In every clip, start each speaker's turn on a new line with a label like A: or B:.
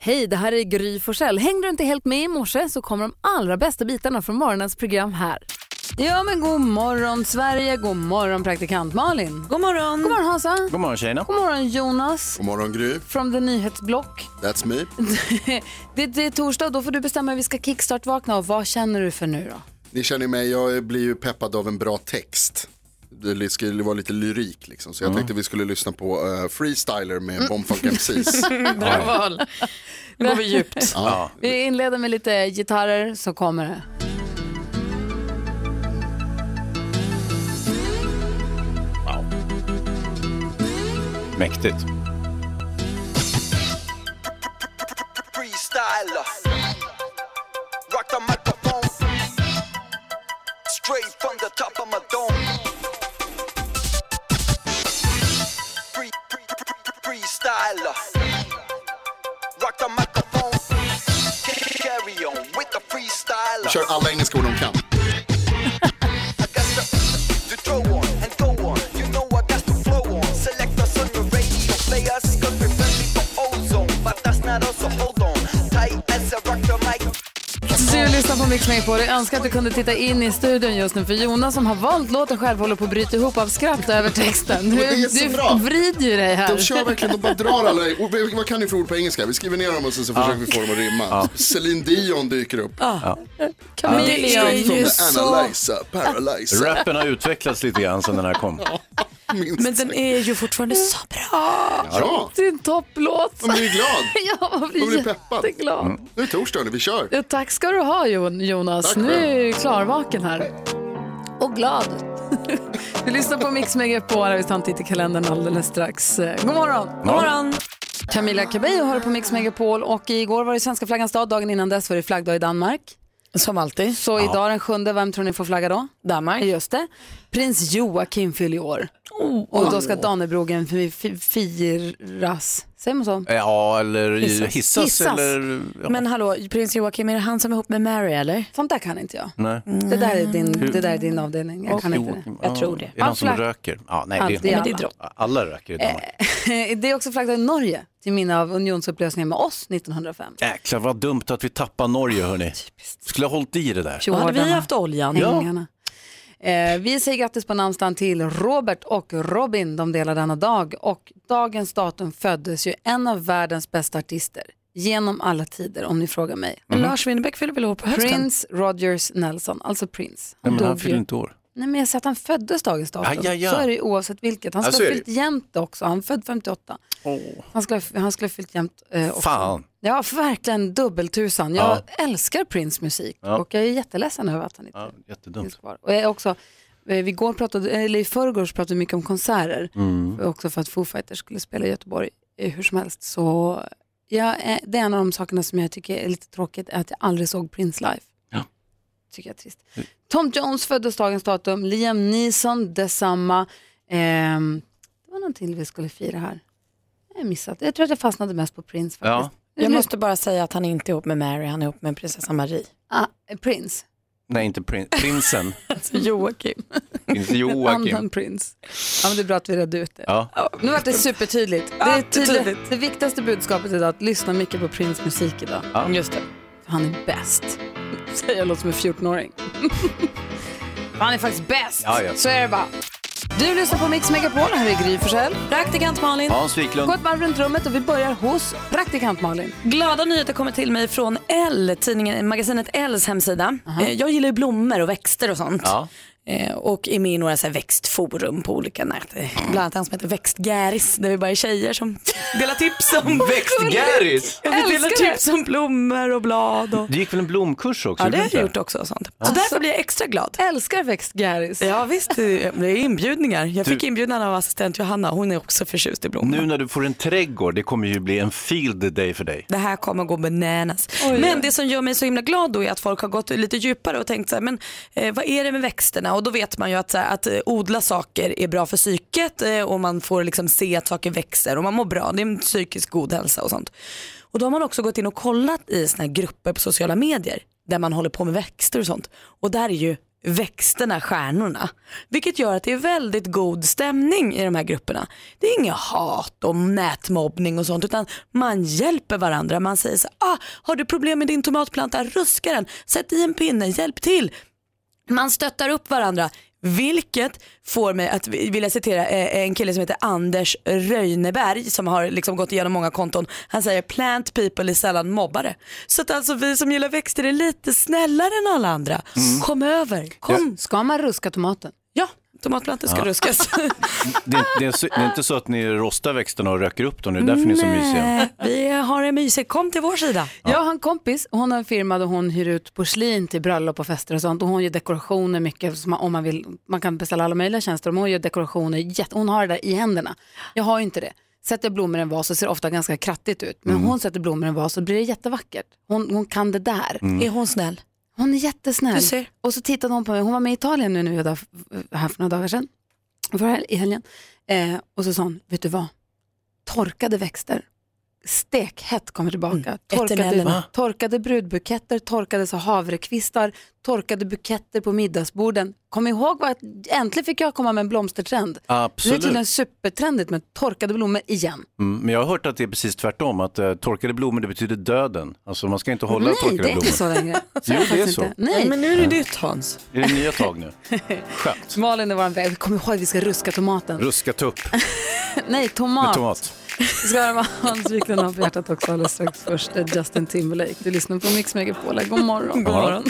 A: Hej, det här är Gry Forssell. Hängde du inte helt med i morse så kommer de allra bästa bitarna från morgonens program här. Ja men god morgon Sverige, god morgon praktikant Malin. God morgon. God morgon Hansa.
B: God morgon tjejerna.
A: God morgon Jonas.
C: God morgon Gry.
A: Från The Nyhetsblock.
C: That's me.
A: det, det är torsdag och då får du bestämma hur vi ska kickstart-vakna och vad känner du för nu då?
C: Ni känner mig, jag blir ju peppad av en bra text. Det skulle vara lite lyrik liksom.
B: Mm.
C: Så jag tänkte vi skulle lyssna på eh, Freestyler
A: Mm.
C: med Bomfunk MCs.
D: Bra val. Nu går vi djupt.
C: Ja.
A: Vi inleder med lite gitarrer så kommer det.
B: Mäktigt.
E: freestyler. Rock the microphone. Straight from the top of my dome. Free, free, free, freestyler. Rock the microphone. Carry on with the freestyler.
C: Kör alla engelska ord de kan.
E: That's the, the throw on and go on. You know I got to flow on. Select us on your radio players. Cause we're friendly for ozone. But that's not us, so hold on. Tight as I rock the mic.
A: Du lyssnar på Mix Megapol. Jag önskar att du kunde titta in i studion just nu för Jonas som har valt låten själv håller på att bryta ihop av skratt över texten.
C: Det är
A: Du,
C: så
A: du
C: bra.
A: vrider ju dig
C: De
A: här.
C: kör verkligen, de bara drar alla. Och vi- Vad kan ni för ord på engelska? Vi skriver ner dem och sen så försöker vi få dem att rimma. Celine Dion dyker upp.
A: Chameleon.
C: Straight from the analyzer, paralyzer.
B: Rappen har utvecklats lite grann sedan den här kom.
C: Minst
D: Men den är ju fortfarande så bra.
C: Ja,
A: Det är en topplåt.
C: man blir glad.
A: Ja, man
C: Man blir
A: blir
C: peppad.
A: jätteglad.
C: Nu är torsdag, hörni, vi kör.
A: Ja, tack ska du ha Jon- Jonas.
C: Tack
A: nu
C: själv.
A: är jag ju klarvaken här. Och glad. Vi lyssnar på Mix Megapol. Vi tar en titt i kalendern alldeles strax. Eh, God morgon!
D: God morgon.
A: Camilla Cabello hör på Mix Megapol och igår var det svenska flaggans dag. Dagen innan dess var det flaggdag i Danmark.
D: Som alltid.
A: Så idag den sjunde, vem tror ni får flagga då?
D: Danmark.
A: Just det. Prins Joakim fyller i år.
B: Oh.
A: Och då ska Dannebrogen fi- fi- firas. Säger man så?
B: Ja, eller
D: Hissas.
B: hissas,
A: Hissas.
B: eller... Ja.
D: Men hallå, prins Joakim, är det han som är ihop med Mary eller?
A: Sånt där kan inte jag.
B: Nej.
A: Det där är din, det där är din avdelning. Mm, Jag kan inte det.
B: Mm. Joakim,
D: Jag
B: ja.
D: tror det.
B: Är det någon som
A: Affleck.
B: röker? Ja, nej,
A: Ja, det är Eh.
B: det
A: alla.
B: är alla. alla röker i Danmark.
A: Det är också flaggdag i Norge till minne av unionsupplösningen med oss 1905.
B: Jäklar vad dumt att vi tappar Norge hörni. Skulle ha hållit i det där.
D: Då hade vi
A: Jordarna,
D: haft oljan.
A: Ängarna. Eh, vi säger grattis på namnsdagen till Robert och Robin. De delar denna dag. Och dagens datum föddes ju en av världens bästa artister genom alla tider om ni frågar mig.
D: Men Mm-hmm. Lars Winnerbäck fyller väl år på hösten?
A: Prince Rogers Nelson, alltså Prince.
B: Nej, men han
A: dog
B: fyller
A: ju-
B: inte år.
A: Nej, men jag säger att han föddes dagens datum.
B: Aj, aj, aj.
A: Så är det ju oavsett vilket. Han
B: Ja,
A: skulle
B: så
A: ha
B: är
A: fyllt jämnt också. Han född 58. Han skulle, ha- han skulle ha fyllt jämnt eh, också.
B: Fan.
A: Ja, verkligen dubbeltusan. Jag älskar Prince musik
B: Ja.
A: och jag är jätteledsen över att han inte
B: Ja, jättedumt.
A: finns kvar. Och jag är också, eh, vi går pratade, eller I förrgår så pratade vi mycket om konserter,
B: Mm.
A: också för att Foo Fighters skulle spela i Göteborg. Eh, Hur som helst så, ja, eh, det är en av de sakerna som jag tycker är lite tråkigt, är att jag aldrig såg Prince live.
B: Ja.
A: Tycker jag är trist. Tom Jones föddes dagens datum, Liam Neeson detsamma. Ehm, det var någon till vi skulle fira här. Jag har missat. Jag tror att jag fastnade mest på Prince
B: Ja.
A: faktiskt.
D: Jag måste bara säga att han är inte ihop med Mary, han är ihop med prinsessan Marie.
A: Ah, Prince.
B: Nej, inte prin- prinsen.
D: Alltså, Joakim.
B: Prins
A: Annan
B: Joakim.
A: prins. Ja, men det är bra att vi redde ut det.
B: Ja.
A: Nu vart det supertydligt. Det, är tydligt. det viktigaste budskapet idag är att lyssna mycket på Prince musik idag.
D: Just det.
A: För han är bäst. Säger jag låter som en 14-åring. han är faktiskt bäst.
B: Ja, ja.
A: Så är det bara. Du lyssnar på Mix Megapol. Här är Gry Forssell.
D: Praktikant Malin.
B: Hans Wiklund.
A: Gå ett varv runt rummet och vi börjar hos praktikant Malin.
D: Glada nyheter kommer till mig från L, tidningen, magasinet Ls hemsida. Eh, Jag gillar ju blommor och växter och sånt.
B: Ja.
D: Eh, Och är med i några så här växtforum på olika nät. Eh, Bland annat han som heter Växtgäris där vi bara är tjejer som delar tips om,
B: Växtgäris.
D: Ja, vi delar
A: Älskar det.
D: tips om typ blommor och blad. Och...
B: Du gick väl en blomkurs också?
D: Ja det
B: gjorde du
D: har
B: inte
D: jag gjort också och sånt. Så därför blir jag extra glad.
A: Älskar växtgäris.
D: Ja visst, det det är inbjudningar. Jag fick
B: Du-
D: inbjudan av assistent Johanna, hon är också förtjust i blommor.
B: Nu när du får en trädgård, det kommer ju bli en field day för dig.
D: det här kommer gå bananas. Men det som gör mig så himla glad då är att folk har gått lite djupare och tänkt så här, men eh, vad är det med växterna? Och då vet man ju att, så här, att eh, odla saker är bra för psyket eh, och man får liksom se att saker växer och man mår bra. Det är en psykisk god hälsa och sånt. Och då har man också gått in och kollat i såna här grupper på sociala medier där man håller på med växter och sånt. Och där är ju växterna, stjärnorna. Vilket gör att det är väldigt god stämning i de här grupperna. Det är inget hat och nätmobbning och sånt utan man hjälper varandra. Man säger så här, ah, har du problem med din tomatplanta, ruska den, sätt i en pinne, hjälp till. Man stöttar upp varandra. Vilket får mig att vi- vilja citera eh, en kille som heter Anders Röjneberg som har liksom gått igenom många konton. Han säger plant people är sällan mobbare. Så att alltså vi som gillar växter är lite snällare än alla andra. Kom över, kom.
A: Mm. Ska man ruska tomaten?
D: Ja, tomatplantor ska ruskas.
B: Det är, det, är, så- det är inte så att ni rostar växterna och röker upp dem, det är därför ni är så mysiga.
D: Nej, vi har en mysig, kom till vår sida.
A: Jag har en kompis, hon har en firma där hon hyr ut porslin till bröllop och fester och sånt. Och hon gör dekorationer mycket, som man, om man vill. Man kan beställa alla möjliga tjänster. Men hon gör dekorationer, jätte, hon har det där i händerna. Jag har ju inte det. Sätter jag blommor i en vas så ser det ofta ganska krattigt ut. Men
B: Mm.
A: hon sätter blommor i en vas så blir det jättevackert. Hon, hon kan det där.
B: Mm.
D: Är hon snäll?
A: Hon är jättesnäll.
D: Du ser.
A: Och så tittade hon på mig, hon var med i Italien nu, när vi var där, här för några dagar sedan, för hel- i helgen. Eh, och så sa hon, vet du vad, torkade växter, stekhett kommer tillbaka.
B: Mm,
A: Torkade,
D: Eternellerna.
A: torkade brudbuketter, torkade så havrekvistar, torkade buketter på middagsborden. Kom ihåg, vad, äntligen fick jag komma med en blomstertrend. Det är
B: Absolut.
A: tydligen supertrendigt med torkade blommor igen.
B: Mm, men jag har hört att det är precis tvärtom, att eh, torkade blommor det betyder döden. Alltså man ska inte hålla
A: Nej,
B: torkade
A: det är
B: blommor.
A: inte så längre.
B: Jo, det är
A: Faktiskt
B: så.
A: inte. Nej.
D: nu är det ditt Hans.
B: Är det nya tag nu? Skönt.
A: Malin är våran väg. Kom ihåg, vi ska ruska tomaten.
B: Ruska tupp
A: Nej,
B: Mm. med tomat.
A: Vi ska höra vad Hans Wiklund har på hjärtat också alldeles strax. Först är Justin Timberlake. Du lyssnar på Mix Megapol. God morgon.
B: God morgon.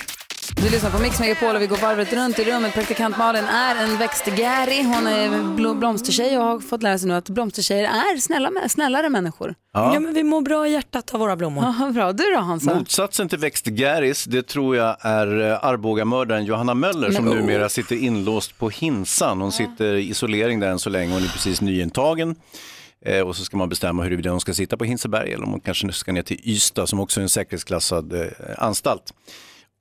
A: Du lyssnar på Mix Megapol och vi går varvet runt i rummet. Praktikant Malin är en växtgäri. Hon är bl- blomstertjej och har fått lära sig nu att blomstertjejer är snälla, mä- snällare människor.
D: Ja. men vi mår bra i hjärtat av våra blommor.
A: Aha, bra. Du då Hansa?
B: Motsatsen till växtgäris, det tror jag är eh, Arbogamördaren Johanna Möller som numera sitter inlåst på Hinsan. Hon sitter i isolering där än så länge, hon är precis nyintagen. Eh, och så ska man bestämma huruvida hon ska sitta på Hinseberg eller om hon kanske ska ner till Ystad som också är en säkerhetsklassad eh, anstalt.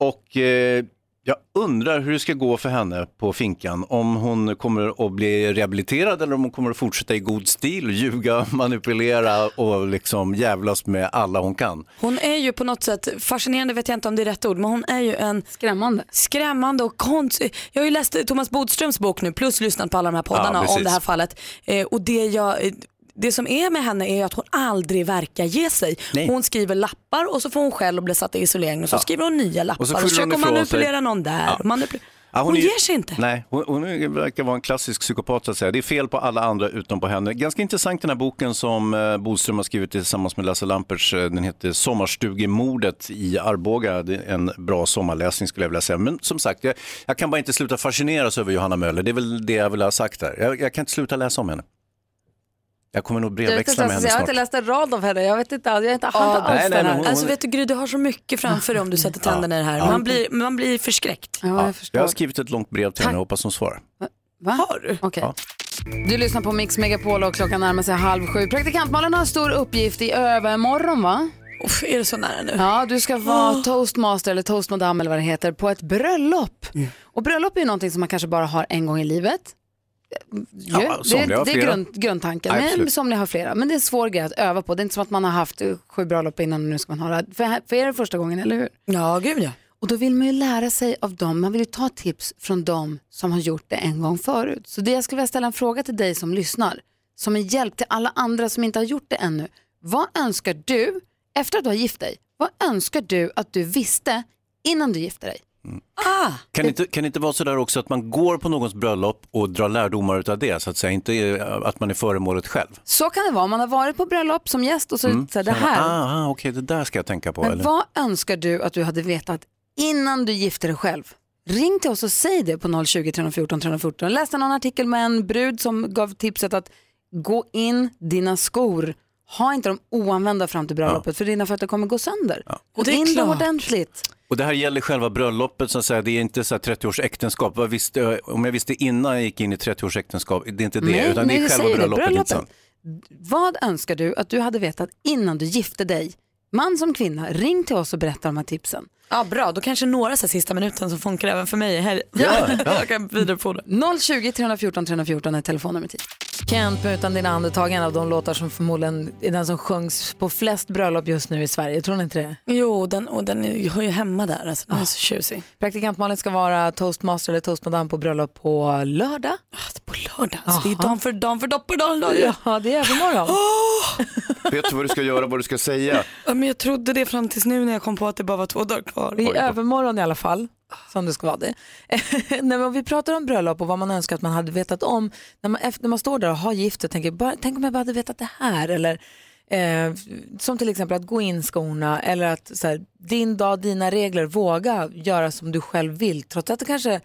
B: Och eh, jag undrar hur det ska gå för henne på finkan. Om hon kommer att bli rehabiliterad eller om hon kommer att fortsätta i god stil, ljuga, manipulera och liksom jävlas med alla hon kan.
D: Hon är ju på något sätt, fascinerande vet jag inte om det är rätt ord, men hon är ju en
A: Skrämmande.
D: skrämmande och konstig. Jag har ju läst eh, Thomas Bodströms bok nu plus lyssnat på alla de här
B: Ja,
D: poddarna
B: precis.
D: om det här fallet. Eh, och det, jag, eh, det som är med henne är ju att hon aldrig verkar ge sig.
B: Nej.
D: Hon skriver lappar och så får hon själv bli satt i isolering och så skriver hon nya lappar och
B: så
D: så,
B: skyller hon
D: försöker
B: ifrån
D: manipulera
B: sig.
D: någon där. och Manipulera.
B: Ja,
D: hon
B: är ju-
D: ger sig inte.
B: Nej, hon, hon är- verkar vara en klassisk psykopat så att säga. Det är fel på alla andra utom på henne. Ganska intressant den här boken som eh, Bodström har skrivit tillsammans med Lasse Lampers. Eh, Den heter Sommarstugemordet i Arboga. Det är en bra sommarläsning skulle jag vilja säga. Men som sagt, jag, jag kan bara inte sluta fascineras över Johanna Möller. Det är väl det jag vill ha sagt här. Jag, jag kan inte sluta läsa om henne. Jag kommer nog
A: Jag, vet inte,
B: brevväxla med
A: alltså,
B: henne
A: jag har
B: snart.
A: inte läst en rad av henne. Jag vet inte, jag vet inte, jag har inte
D: Ah,
A: alls den
B: nej, nej, men
A: här.
B: hon-
D: Alltså vet du Gry, du har så mycket framför dig om du sätter tänderna i det här. Man blir, man blir förskräckt.
A: Ja, jag
B: Jag
A: förstår.
B: har skrivit ett långt brev till henne, hoppas hon svarar.
A: Va? Har du? Okej. Du lyssnar på Mix Megapol och klockan närmar sig halv sju. Praktikant Malin har en stor uppgift i övermorgon va?
D: Uff, är det så nära nu? Ah.
A: Ja, du ska vara toastmaster eller toastmadam eller vad det heter på ett bröllop. Och bröllop är ju någonting som man kanske bara har en gång i livet. Ju, det,
B: somliga har
A: det är
B: flera.
A: grund, grundtanken. Men
B: Absolut.
A: somliga har flera. Men det är en svår grej att öva på. Det är inte som att man har haft eh, sju bröllop innan och nu ska man ha det. här. För, här- för er är det första gången, eller hur?
D: Ja, gud ja.
A: Och då vill man ju lära sig av dem, man vill ju ta tips från dem som har gjort det en gång förut. Så det jag skulle vilja ställa en fråga till dig som lyssnar, som en hjälp till alla andra som inte har gjort det ännu. Vad önskar du, efter att du har gift dig, vad önskar du att du visste innan du gifte dig?
D: Ah.
B: Kan det inte, kan det inte vara sådär också att man går på någons bröllop och drar lärdomar utav det, så att säga, inte eh, att man är föremålet själv?
A: Så kan det vara, om man har varit på bröllop som gäst och så, så här, det här.
B: Ah, ah, okej, det där ska jag tänka på.
A: Men
B: eller?
A: vad önskar du att du hade vetat innan du gifte dig själv? Ring till oss och säg det på 020 314 314. Jag läste någon artikel med en brud som gav tipset att gå in dina skor. Ha inte dem oanvända fram till bröllopet för dina fötter kommer gå sönder. Gå
D: Det är
A: in dem
D: klart.
A: ordentligt.
B: Och det här gäller själva bröllopet, så att säga, det är inte så här 30 års äktenskap. Vad visste, jag- om jag visste innan jag gick in i 30 års äktenskap, det är inte det, utan det är
A: jag
B: själva
A: säger
B: bröllopet. inte sant?
A: Vad önskar du att du hade vetat innan du gifte dig? Man som kvinna, ring till oss och berätta de här tipsen.
D: Ja bra, då kanske några så här sista minuten som funkar även för mig i helgen.
B: Ja, ja.
D: Jag kan vidarebefordra.
A: 020 314 314 är telefonnumret hit. Kent med Utan dina andetag, en av de låtar som förmodligen är den som sjungs på flest bröllop just nu i Sverige. Tror ni inte det? Ah.
D: Jo, den, och den är- hör ju hemma där. Alltså, den är så tjusig.
A: Praktikant Malin ska vara toastmaster eller toastmadam på bröllop på lördag.
D: På lördag, alltså, det är dagen för dagen för dag på dagen. dagen.
A: Ja, det är övermorgon.
B: Vet du vad du ska göra, vad du ska säga?
D: Ja, men jag trodde det fram tills nu när jag kom på att det bara var två dagar kvar.
A: Det är övermorgon i alla fall, som det ska vara det. Nej, men om vi pratar om bröllop och vad man önskar att man hade vetat om, när man, efter, när man står där och har gift och tänker, bara, tänk om jag bara hade vetat det här, eller eh, som till exempel att gå in skorna, eller att så här, din dag, dina regler, våga göra som du själv vill, trots att det kanske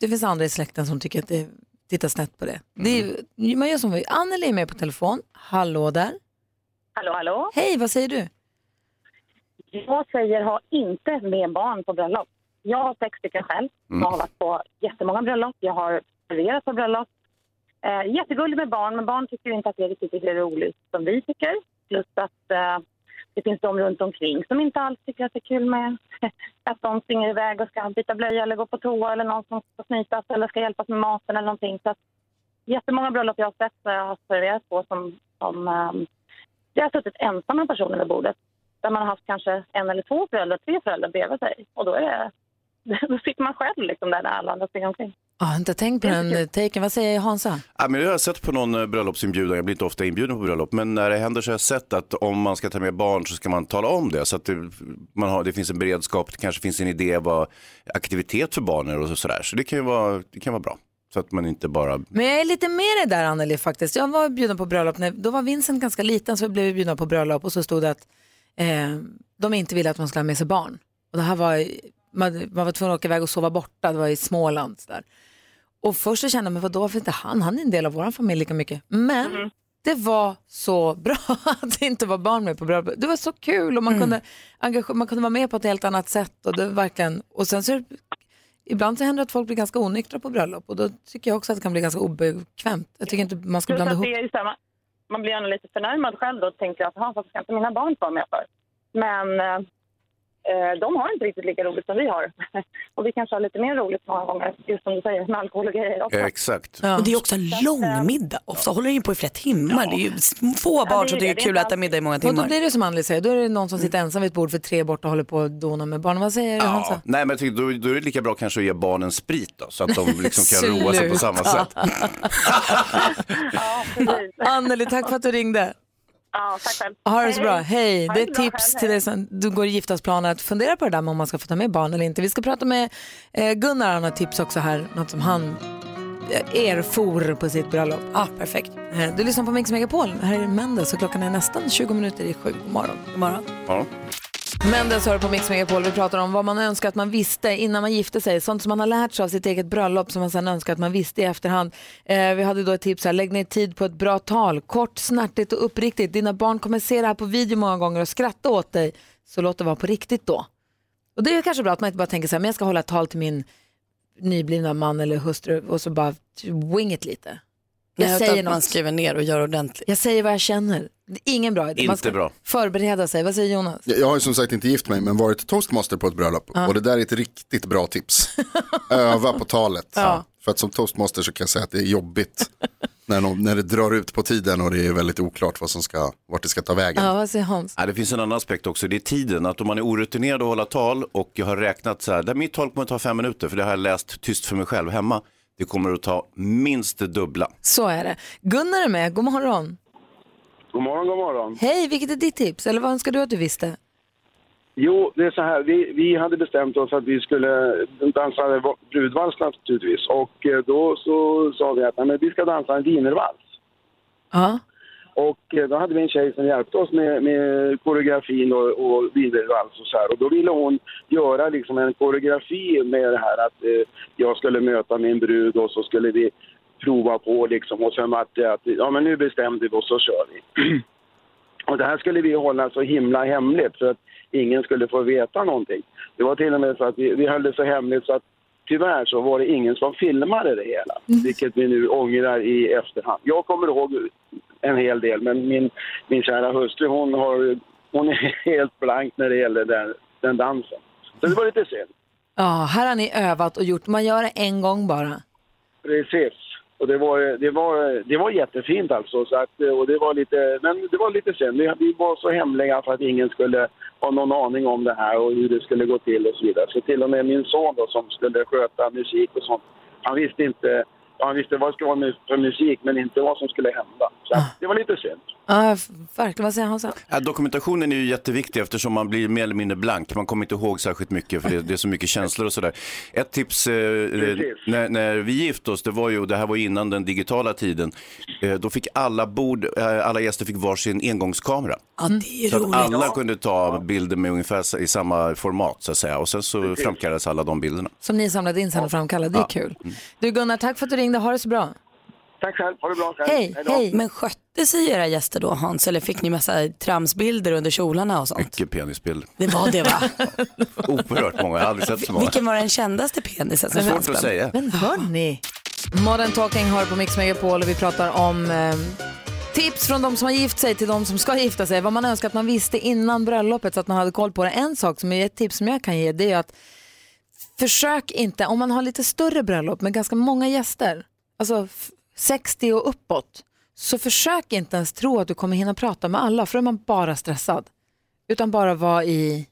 A: det finns andra i släkten som tycker att det tittar snett på det. det är, ju- man gör som vi, Anneli är med på telefon, hallå där.
F: Hallå, hallå.
A: Hej, vad säger du?
F: Jag säger ha inte med barn på bröllop. Jag har sex stycken själv. Jag har varit på jättemånga bröllop. Jag har serverat på bröllop. Eh, jättegulligt med barn, men barn tycker inte att det är riktigt lika roligt som vi tycker. Plus att eh, det finns de runt omkring som inte alls tycker att det är kul med att de springer iväg och ska byta blöja eller gå på toa eller någon som ska snytas eller ska hjälpas med maten eller någonting. Så att, jättemånga bröllop jag har sett när jag har serverat på som, som ehm, det har suttit ensamma personer vid bordet där man har haft kanske en eller två föräldrar, tre föräldrar bredvid sig. Och då, är det, då sitter man själv liksom där när alla andra springer omkring.
A: Ah, jag har inte tänkt på den eh, taken, vad säger Hansa?
B: Ja, men jag har sett på någon eh, bröllopsinbjudan, jag blir inte ofta inbjuden på bröllop, men när det händer så har jag sett att om man ska ta med barn så ska man tala om det. Så att det, man har, det finns en beredskap, det kanske finns en idé vad aktivitet för barnen och så- sådär. Så det kan ju vara, det kan vara bra. Så att man inte bara...
A: Men jag är lite med dig där Anneli faktiskt. Jag var bjuden på bröllop, när, då var Vincent ganska liten så blev vi bjudna på bröllop och så stod det att eh, de inte ville att man skulle ha med sig barn. Och det här var, i- man, man var tvungen att åka iväg och sova borta, det var i Småland. Så där. Och först så kände jag, men vadå, varför inte han? Han är en del av vår familj lika mycket. Men
F: Mm.
A: det var så bra att det inte var barn med på bröllopet. Det var så kul och man, kunde, engage- man kunde vara med på ett helt annat sätt. Och, det var verkligen, och sen så är det Ibland så händer det att folk blir ganska onyktra på bröllop och då tycker jag också att det kan bli ganska obekvämt. Jag tycker inte man ska
F: Plus
A: blanda
F: att
A: ihop.
F: det är ju så här, man, man blir ändå lite förnärmad själv då och tänker att "Jaha, varför ska inte mina barn få vara med för? Men eh, de har inte riktigt lika roligt som vi har. och vi kanske har lite mer roligt många gånger, just som du säger, med alkohol och grejer också.
B: Eh, Exakt.
A: Ja.
D: Och det är också en lång middag. Ofta håller den ju på i flera timmar. Det är ju få
F: det
D: barn
F: är
D: som tycker
F: det.
D: det
F: Det
D: är
F: är
D: kul att äta
F: sant.
D: middag i många
A: Och då
D: timmar.
A: blir det som Anneli säger, då är det någon som sitter ensam vid ett bord för tre borta och håller på och donar med barnen. Vad säger Hansa?
B: Ja, nej, men jag tycker, då, då är det lika bra kanske att ge barnen sprit då, så att de liksom kan roa sig på samma
A: Sluta.
B: sätt.
F: Ja, precis.
A: Anneli, tack för att du ringde.
F: ja, tack själv.
A: Ha det så bra,
F: Hej.
A: hej.
F: Ha
A: Det är
F: det
A: ett
F: bra
A: tips
F: själv,
A: till
F: hej.
A: dig som du går i giftasplaner att fundera på det där med om man ska få ta med barn eller inte. Vi ska prata med eh, Gunnar, han har tips också här, något som han eh, erfor på sitt bröllop.
D: Ah, perfekt.
A: Eh, Du lyssnar på Mix Megapol, här är Mendes och klockan är nästan 20 minuter i sju på morgon.
D: God morgon.
B: Ja.
A: Mendes hör på Mix Megapol. Vi pratar om vad man önskar att man visste innan man gifte sig. Sånt som man har lärt sig av sitt eget bröllop som man sedan önskar att man visste i efterhand. Eh, vi hade då ett tips här. Lägg ner tid på ett bra tal. Kort, snärtigt och uppriktigt. Dina barn kommer se det här på video många gånger och skratta åt dig. Så låt det vara på riktigt då. Och det är ju kanske bra att man inte bara tänker så här, men jag ska hålla ett tal till min nyblivna man eller hustru och så bara wing it lite. Jag
D: Nej,
A: säger
D: utan Man
A: något.
D: skriver ner och gör ordentligt.
A: Jag säger vad jag känner. Det är ingen bra idé. man
B: Inte
A: ska
B: bra.
A: förbereda sig. Vad säger Jonas?
C: Jag jag har ju som sagt inte gift mig men varit toastmaster på ett bröllop och det där är ett riktigt bra tips. Öva på talet. För att som toastmaster så kan jag säga att det är jobbigt när, någon, när det drar ut på tiden och det är väldigt oklart vad som ska, vart det ska ta vägen.
A: Ja, vad säger Hans?
B: Ja, det finns en annan aspekt också, det är tiden. Att om man är orutinerad och håller tal och jag har räknat så här, där mitt tal kommer att ta fem minuter, för det har jag läst tyst för mig själv hemma. Det kommer att ta minst det dubbla.
A: Så är det. Gunnar är med, god morgon.
D: Mm.
G: God morgon, god morgon.
A: Hej, vilket är ditt tips? Eller vad önskar du att du visste?
G: Jo, det är så här. Vi, vi hade bestämt oss att vi skulle dansa brudvals naturligtvis. Och eh, då så sa vi att nej, men vi ska dansa en wienervals.
A: Ja.
G: Och eh, då hade vi en tjej som hjälpte oss med, med koreografin och, och wienervals och så här. Och då ville hon göra liksom en koreografi med det här att eh, jag skulle möta min brud och så skulle vi prova på liksom. Och sen att, att ja men nu bestämde vi oss och så kör vi. Och det här skulle vi hålla så himla hemligt för att ingen skulle få veta någonting. Det var till och med så att vi, vi höll det så hemligt så att tyvärr så var det ingen som filmade det hela. Vilket vi nu ångrar i efterhand. Jag kommer ihåg en hel del men min, min kära hustru hon, har, hon är helt blank när det gäller den, den dansen. Så det var lite synd.
A: ja, här har ni övat och gjort. Man gör det en gång bara.
G: Precis. Och det var, det var, det var jättefint alltså. Så att, och det var lite, men det var lite synd. Vi, vi var så hemliga för att ingen skulle ha någon aning om det här och hur det skulle gå till och så vidare. Så till och med min son då, som skulle sköta musik och sånt, han visste inte han visste vad det skulle vara mu- för musik men inte vad som skulle hända. Så att, det var lite synd.
A: Ja, f- verkligen. Vad säger han så?
B: Ja, dokumentationen är ju jätteviktig eftersom man blir mer eller mindre blank. Man kommer inte ihåg särskilt mycket för det, det är så mycket känslor och sådär. Ett tips eh,
G: Precis.
B: när, när vi gifte oss, det var ju, det här var ju innan den digitala tiden, eh, då fick alla bord, eh, alla gäster fick varsin engångskamera.
D: Ja, det är
A: Mm.
B: Så att
D: roligt.
B: alla kunde ta bilder med ungefär s- i samma format så att säga och sen så framkallades alla de bilderna. Mm.
A: Som ni samlade in sen och framkallade. Det är kul. Du Gunnar, tack för att du ringde. Ha det så bra.
G: Tack själv, ha det bra själv.
A: Hej,
G: då.
A: hej.
D: Men skötte sig era gäster då Hans eller fick ni massa tramsbilder under kjolarna och sånt?
B: Mycket penisbilder.
D: Det var det va?
B: Oerhört många, jag har aldrig sett så många.
D: Vilken var den kändaste penisen som
B: Svårt
D: fanns?
B: att säga.
A: Men hörni, Modern Talking har på Mix Megapol och vi pratar om eh, tips från de som har gift sig till de som ska gifta sig. Vad man önskar att man visste innan bröllopet så att man hade koll på det. En sak som är ett tips som jag kan ge det är att försök inte, om man har lite större bröllop med ganska många gäster, alltså f- 60 och uppåt, så försök inte ens tro att du kommer hinna prata med alla för då är man bara stressad. Utan bara vara i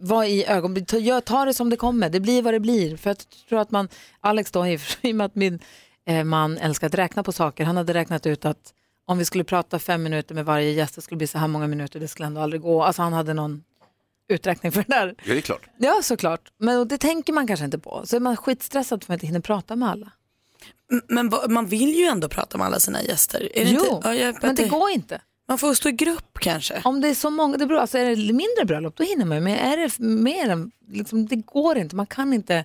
A: var i ögonblicket. Ta, gör- ta det som det kommer. Det blir vad det blir. För jag tror att man, Alex då, i och för sig, i och med att min eh, man älskar att räkna på saker. Han hade räknat ut att om vi skulle prata fem minuter med varje gäst, det skulle bli så här många minuter, det skulle ändå aldrig gå. Alltså han hade någon uträkning för det där.
B: Ja, det är klart.
A: Ja, såklart. Men och det tänker man kanske inte på. Så är man skitstressad för att man inte hinner prata med alla.
D: Men va- man vill ju ändå prata med alla sina gäster. Är det
A: Jo,
D: inte? Ja, jag,
A: men det går inte.
D: Man får stå i grupp kanske.
A: Om det är så många, det beror, alltså är det mindre bröllop då hinner man ju, men är det f- mer än, liksom, det går inte, man kan inte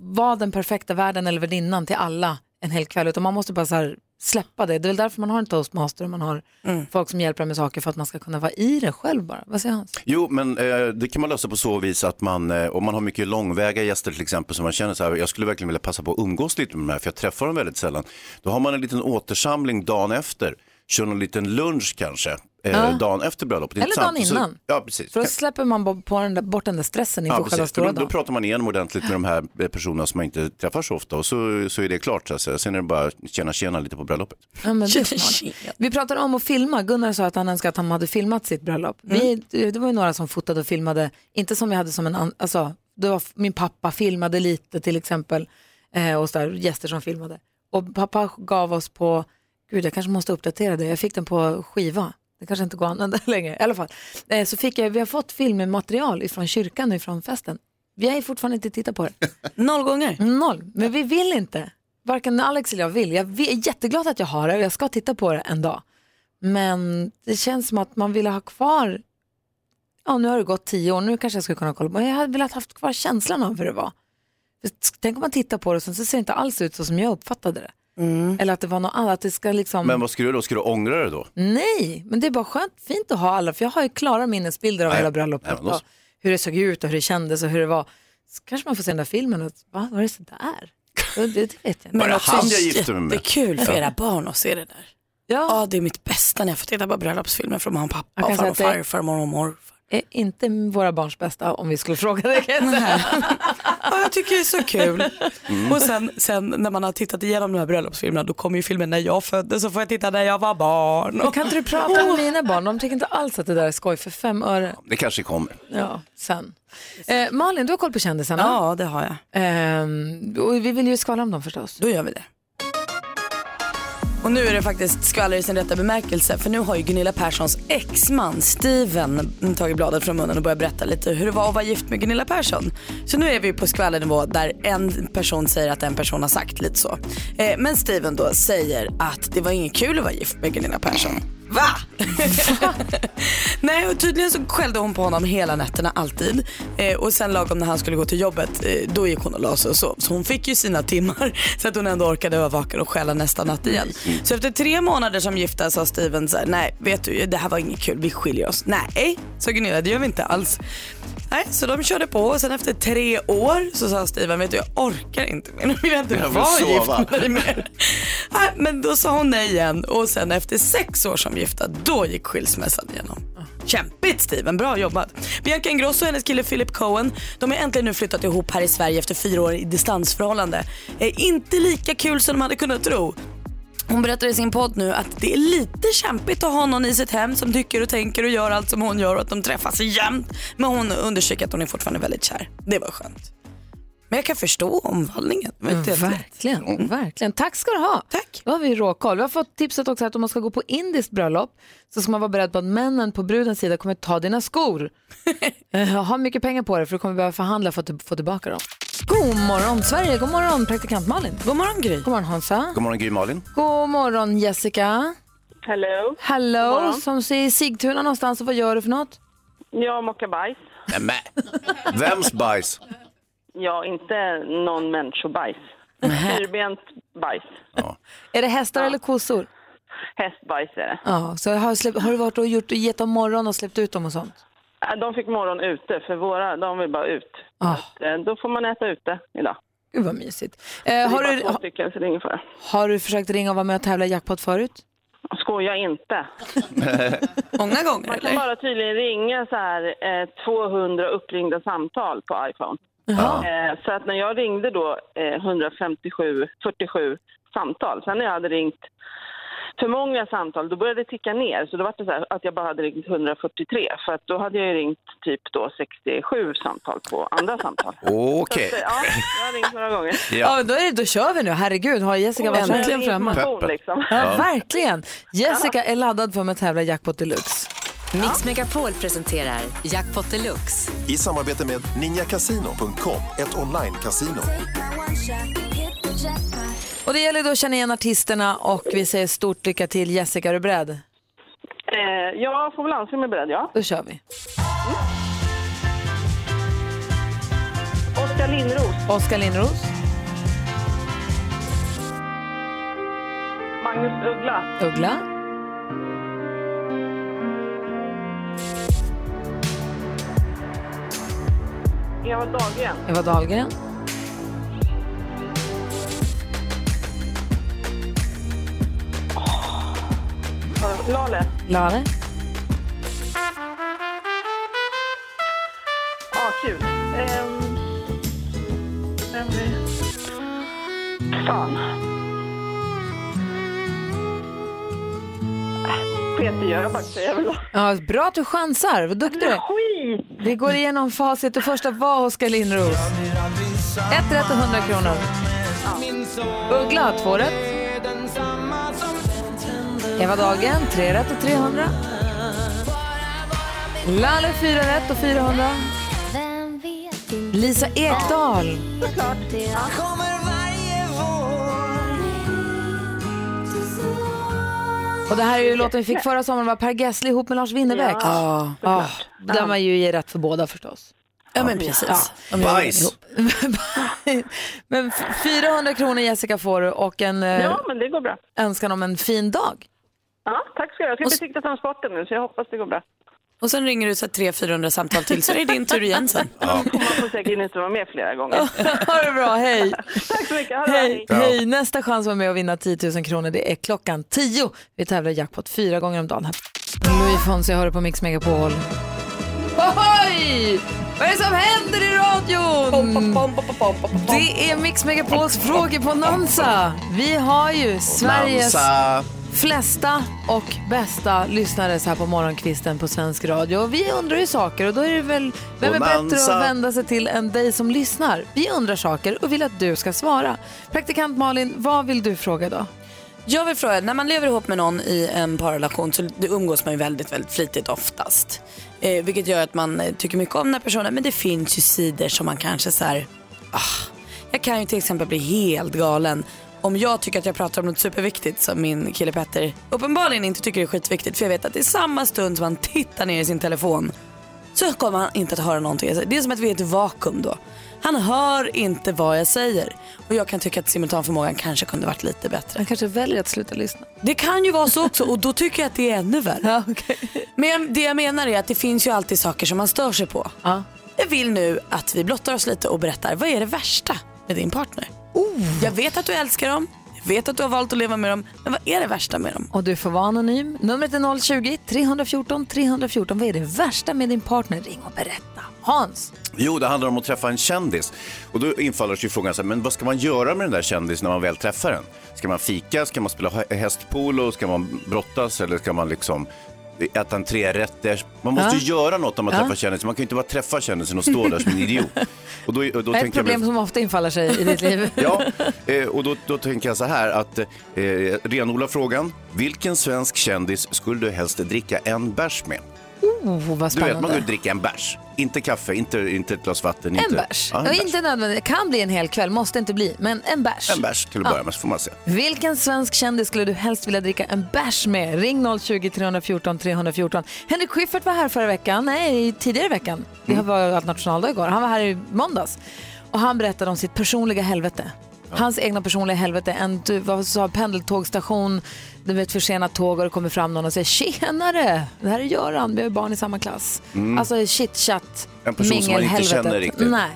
A: vara den perfekta värden eller värdinnan till alla en hel kväll, utan man måste bara så här släppa det. Det är väl därför man har en toastmaster och man har
D: Mm.
A: folk som hjälper en med saker för att man ska kunna vara i det själv bara. Vad säger Hans?
B: Jo, men eh, det kan man lösa på så vis att man, eh, om man har mycket långväga gäster till exempel, som man känner så här, jag skulle verkligen vilja passa på att umgås lite med de här, för jag träffar dem väldigt sällan. Då har man en liten återsamling dagen efter, kör någon liten lunch kanske, eh, dagen efter bröllopet.
A: Eller
B: Intressant.
A: dagen
B: Och så-
A: innan.
B: Ja, precis.
A: För då släpper man bo- på den där, bort den där stressen inför
B: Ja,
A: själva
B: precis. För
A: stora
B: Då, då
A: dagen.
B: pratar man igenom ordentligt med de här eh, personerna som man inte träffar så ofta och så, så är det klart. Så att säga. Sen är det bara att tjena tjena lite på bröllopet.
A: Ja, men det är smart.
D: Shit.
A: Vi pratade om att filma. Gunnar sa att han önskade att han hade filmat sitt bröllop. Vi, det var ju några som fotade och filmade, inte som vi hade som en an- alltså, det var f- min pappa filmade lite till exempel, eh, och så där, gäster som filmade. Och pappa gav oss på, gud jag kanske måste uppdatera det, jag fick den på skiva. Det kanske inte går att använda längre, i alla fall. Eh, så fick jag, vi har fått filmmaterial ifrån kyrkan och ifrån festen. Vi har ju fortfarande inte tittat på det.
D: Noll gånger.
A: Noll, men vi vill inte. Varken Alex eller jag vill. Jag vi- är jätteglad att jag har det och jag ska titta på det en dag. Men det känns som att man vill ha kvar, ja nu har det gått tio år, nu kanske jag skulle kunna kolla på det. Jag hade velat haft kvar känslan av hur det var. För Tänk om man tittar på det och sen så ser det inte alls ut så som jag uppfattade det. Eller att det var något annat, att det ska liksom...
B: Men vad skulle du då? Skulle du ångra dig då?
A: Nej, men det är bara skönt fint att ha alla, för jag har ju klara minnesbilder av
B: Ja, ja.
A: hela
B: Ja,
A: bröllopet.
B: men då så.
A: och hur det såg ut och hur det kändes och hur det var. Så kanske man får se den där filmen och va, var det så där? Det, det vet jag inte.
B: Var det han jag gifte mig
D: det är
B: med?
D: kul för era barn att se det där.
A: Jag
D: Ja, det är mitt bästa när jag får titta på bröllopsfilmer från mamma och
A: Jag
D: pappa, och farmor
A: kan
D: och
A: säga att det-
D: farfar, farmor och morfar.
A: är inte våra barns bästa om vi skulle fråga dig. kan jag säga.
D: Ja, jag tycker det är så kul. Och sen, sen när man har tittat igenom de här bröllopsfilmerna då kommer ju filmen när jag föddes så får jag titta när jag var barn.
A: Kan inte du prata med mina barn? De tycker inte alls att det där är skoj för fem öre.
B: Det kanske kommer.
A: Ja, sen. Eh, Malin, du har koll på kändisarna.
D: Ja, det har jag.
A: Ehm, och vi vill ju skvallra om dem förstås.
D: Då gör vi det. Och nu är det faktiskt skvaller i sin rätta bemärkelse för nu har ju Gunilla Perssons exman Steven tagit bladet från munnen och börjat berätta lite hur det var att vara gift med Gunilla Persson. Så nu är vi på skvallernivå där en person säger att en person har sagt lite så. Eh, men Steven då säger att det var inget kul att vara gift med Gunilla Persson. Va? Nej, och tydligen så skällde hon på honom hela nätterna alltid. Eh, och sen lagom när han skulle gå till jobbet, eh, då gick hon och la sig och sov. Så hon fick ju sina timmar så att hon ändå orkade vara vaken och skälla nästa natt igen.
B: Mm.
D: Så efter tre månader som gifta sa Steven så här, nej vet du, det här var inget kul, vi skiljer oss. Nej, sa Gunilla, det gör vi inte alls. Nej, så de körde på och sen efter tre år så sa Steven, vet du jag orkar inte mer, nu vill jag inte
B: Jag vill
D: vara gift
B: sova."
D: med dig mer. Nej, men då sa hon nej igen och sen efter sex år som gifta, då gick skilsmässan igenom. Kämpigt Steven, bra jobbat. Bianca Ingrosso och hennes kille Philip Cohen, de har äntligen nu flyttat ihop här i Sverige efter fyra år i distansförhållande. Eh, inte lika kul som de hade kunnat tro. Hon berättar i sin podd nu att det är lite kämpigt att ha någon i sitt hem som tycker och tänker och gör allt som hon gör och att de träffas jämt. Men hon understryker att hon är fortfarande väldigt kär. Det var skönt. Men jag kan förstå omvandlingen.
A: Mm, verkligen, verkligen. Tack ska du ha. Tack. Då har vi råkoll. Vi har fått tipset också att om man ska gå på indiskt bröllop så ska man vara beredd på att männen på brudens sida kommer ta dina skor. Eh, ha mycket pengar på dig för du kommer behöva förhandla för att få tillbaka dem. God morgon Sverige, god morgon praktikant Malin.
D: God morgon Gry.
A: God morgon Hansa.
B: God morgon Gry Malin.
A: God morgon Jessica.
H: Hello. God
A: Hello,
H: morgon.
A: som säger Sigtuna någonstans och vad gör du för något?
H: Jag mockar bajs.
B: Nämen, vems bajs?
H: Ja, inte någon människobajs. Fyrbent bajs.
A: Är det hästar eller kossor?
H: Hästbajs är det.
A: Ja, så har, släppt, har du varit och gjort, gett dem morgon och släppt ut dem och sånt?
H: Äh, De fick morgon ute, för våra de vill bara ut.
A: Ah.
H: Eh, Då får man äta ute idag.
A: Gud vad mysigt. Eh, har,
H: det är
A: du,
H: bara två
A: ha,
H: stycken, så det är ingen fara.
A: har du försökt ringa och vara med och tävla i jackpot förut?
H: Skoja inte.
D: Många gånger
H: Man kan bara tydligen ringa så här eh, 200 uppringda samtal på iPhone. Eh, Så att när jag ringde då eh, 157, 47 samtal, sen när jag hade ringt för många samtal, då började det ticka ner. Så då var det så här att jag bara hade ringt 143, för att då hade jag ju ringt typ då 67 samtal på andra samtal.
B: Okej.
H: Så, ja, jag har ringt några gånger.
A: Ja,
B: Ja.
A: men då, är, det- då kör vi nu. Herregud, har Jessica varit äntligen framme? Ja,
H: Information, liksom.
A: verkligen. Jessica är laddad för att tävla i jackpot deluxe.
I: Mix Megapol presenterar Jackpot Deluxe.
E: I samarbete med ninjakasino.com, ett online-casino.
A: Och det gäller då att känna igen artisterna och vi säger stort lycka till Jessica. Är du beredd?
H: Eh, jag får väl anse mig beredd, ja.
A: Då kör vi.
H: Oskar Lindros,
A: Oskar Lindros,
H: Magnus Uggla,
A: Uggla,
H: Eva Dahlgren,
A: Eva Dahlgren,
H: eh, Lale,
A: Lale,
H: ah, kul. Ehm, vem är- Fan. Peter Jöback säger jag väl då.
A: Ja, bra att du chansar. Vad duktig du är.
H: Skit!
A: Vi går igenom facit. Det första var Oskar Lindros. Ett rätt och 100 kronor. Uggla, två rätt. Eva Dagen, tre rätt och 300. Lalle, fyra rätt och 400. Lisa Ekdahl. Och det här är ju låten vi fick förra sommaren, var Per Gessle ihop med Lars Winnerbäck.
D: Ja,
A: Ah, där man ju ger rätt för båda förstås.
D: ja men precis. De gör
B: Bajs.
A: Men f- 400 kronor Jessica får du och en eh,
H: Ja, men det går bra.
A: önskan om en fin dag.
H: Ja, tack ska du ha. Jag ska besikta transporten nu, så jag hoppas det går bra.
D: Och sen ringer du så 300-400 samtal till så är det din tur igen sen.
H: Man får säkert inte vara med flera gånger.
A: ha det bra, hej.
H: Tack så mycket. Ha det bra,
A: hej! Hej! Nästa chans att vara med och vinna 10 000 kronor det är klockan 10. Vi tävlar i jackpot fyra gånger om dagen. här. Louis Fonsi hör du på Mix Megapol. Ohoj! Vad är det som händer i radion? Det är Mix Megapols frågor på Nansa. Vi har ju Sveriges
B: Nansa.
A: flesta och bästa lyssnare så här på morgonkvisten på svensk radio. Och vi undrar ju saker och då är det väl, vem är bättre
B: Bonanza.
A: att vända sig till än dig som lyssnar? Vi undrar saker och vill att du ska svara. Praktikant Malin, vad vill du fråga idag?
D: Jag vill fråga, när man lever ihop med någon i en parrelation så det umgås man ju väldigt, väldigt flitigt oftast. Eh, vilket gör att man eh, tycker mycket om den här personen men det finns ju sidor som man kanske så här, ah, jag kan ju till exempel bli helt galen om jag tycker att jag pratar om något superviktigt som min kille Petter uppenbarligen inte tycker är skitviktigt för jag vet att i samma stund som han tittar ner i sin telefon så kommer han inte att höra någonting. Alltså, Det är som att vi är i ett vakuum då. Han hör inte vad jag säger och jag kan tycka att simultanförmågan kanske kunde varit lite bättre.
A: Man kanske väljer att sluta lyssna.
D: Det kan ju vara så också och då tycker jag att det är ännu värre.
A: Ja, okay.
D: Men jag- det jag menar är att det finns ju alltid saker som man stör sig på.
A: Ja.
D: Jag vill nu Oh. att vi blottar oss lite och berättar, vad är det värsta med din partner? Jag vet att du älskar dem, vet att du har valt att leva med dem, men vad är det värsta med dem?
A: Och du får vara anonym. Numret är 020-314 314. Vad är det värsta med din partner? Ring och berätta. Hans.
B: Jo, det handlar om att träffa en kändis. Och då infaller sig frågan, så här, men vad ska man göra med den där kändisen när man väl träffar den? Ska man fika, ska man spela hä- hästpolo, ska man brottas eller ska man liksom äta en trerätter? Man måste
A: Ja.
B: ju göra något när man
A: Ja.
B: träffar kändisen. Man kan ju inte bara träffa kändisen och stå där som en idiot. Och då, och då
A: det är ett
B: tänker jag mig-
A: problem som ofta infaller sig i ditt liv.
B: Ja, eh, och då, då tänker jag så här att eh, renodla frågan. Vilken svensk kändis skulle du helst dricka en bärs med?
A: Oh, vad
B: Du vet, man
A: spännande.
B: går och dricker en bärs. Inte kaffe, inte, inte ett glas vatten.
A: en
B: inte.
A: bärs.
B: Ja, en
A: Ja,
B: bärs.
A: inte nödvändigt. Det kan bli en hel kväll, måste inte bli. Men en bärs.
B: En bärs till att
A: Ja.
B: börja med, så får man se.
A: Vilken svensk kändis skulle du helst vilja dricka en bärs med? Ring 020-314 314. Henrik Schyffert var här förra veckan, nej tidigare i veckan. Det var allt nationaldag igår. Han var här i måndags och han berättade om sitt personliga helvete. Hans egna personliga helvete. En du, vad sa, pendeltågstation, du vet försenat tåg och det kommer fram någon och säger tjenare, det här är Göran, vi har ju barn i samma klass.
B: Mm.
A: Alltså shit chat,
B: En person som man inte
A: mingelhelvetet.
B: känner riktigt.
A: Nej.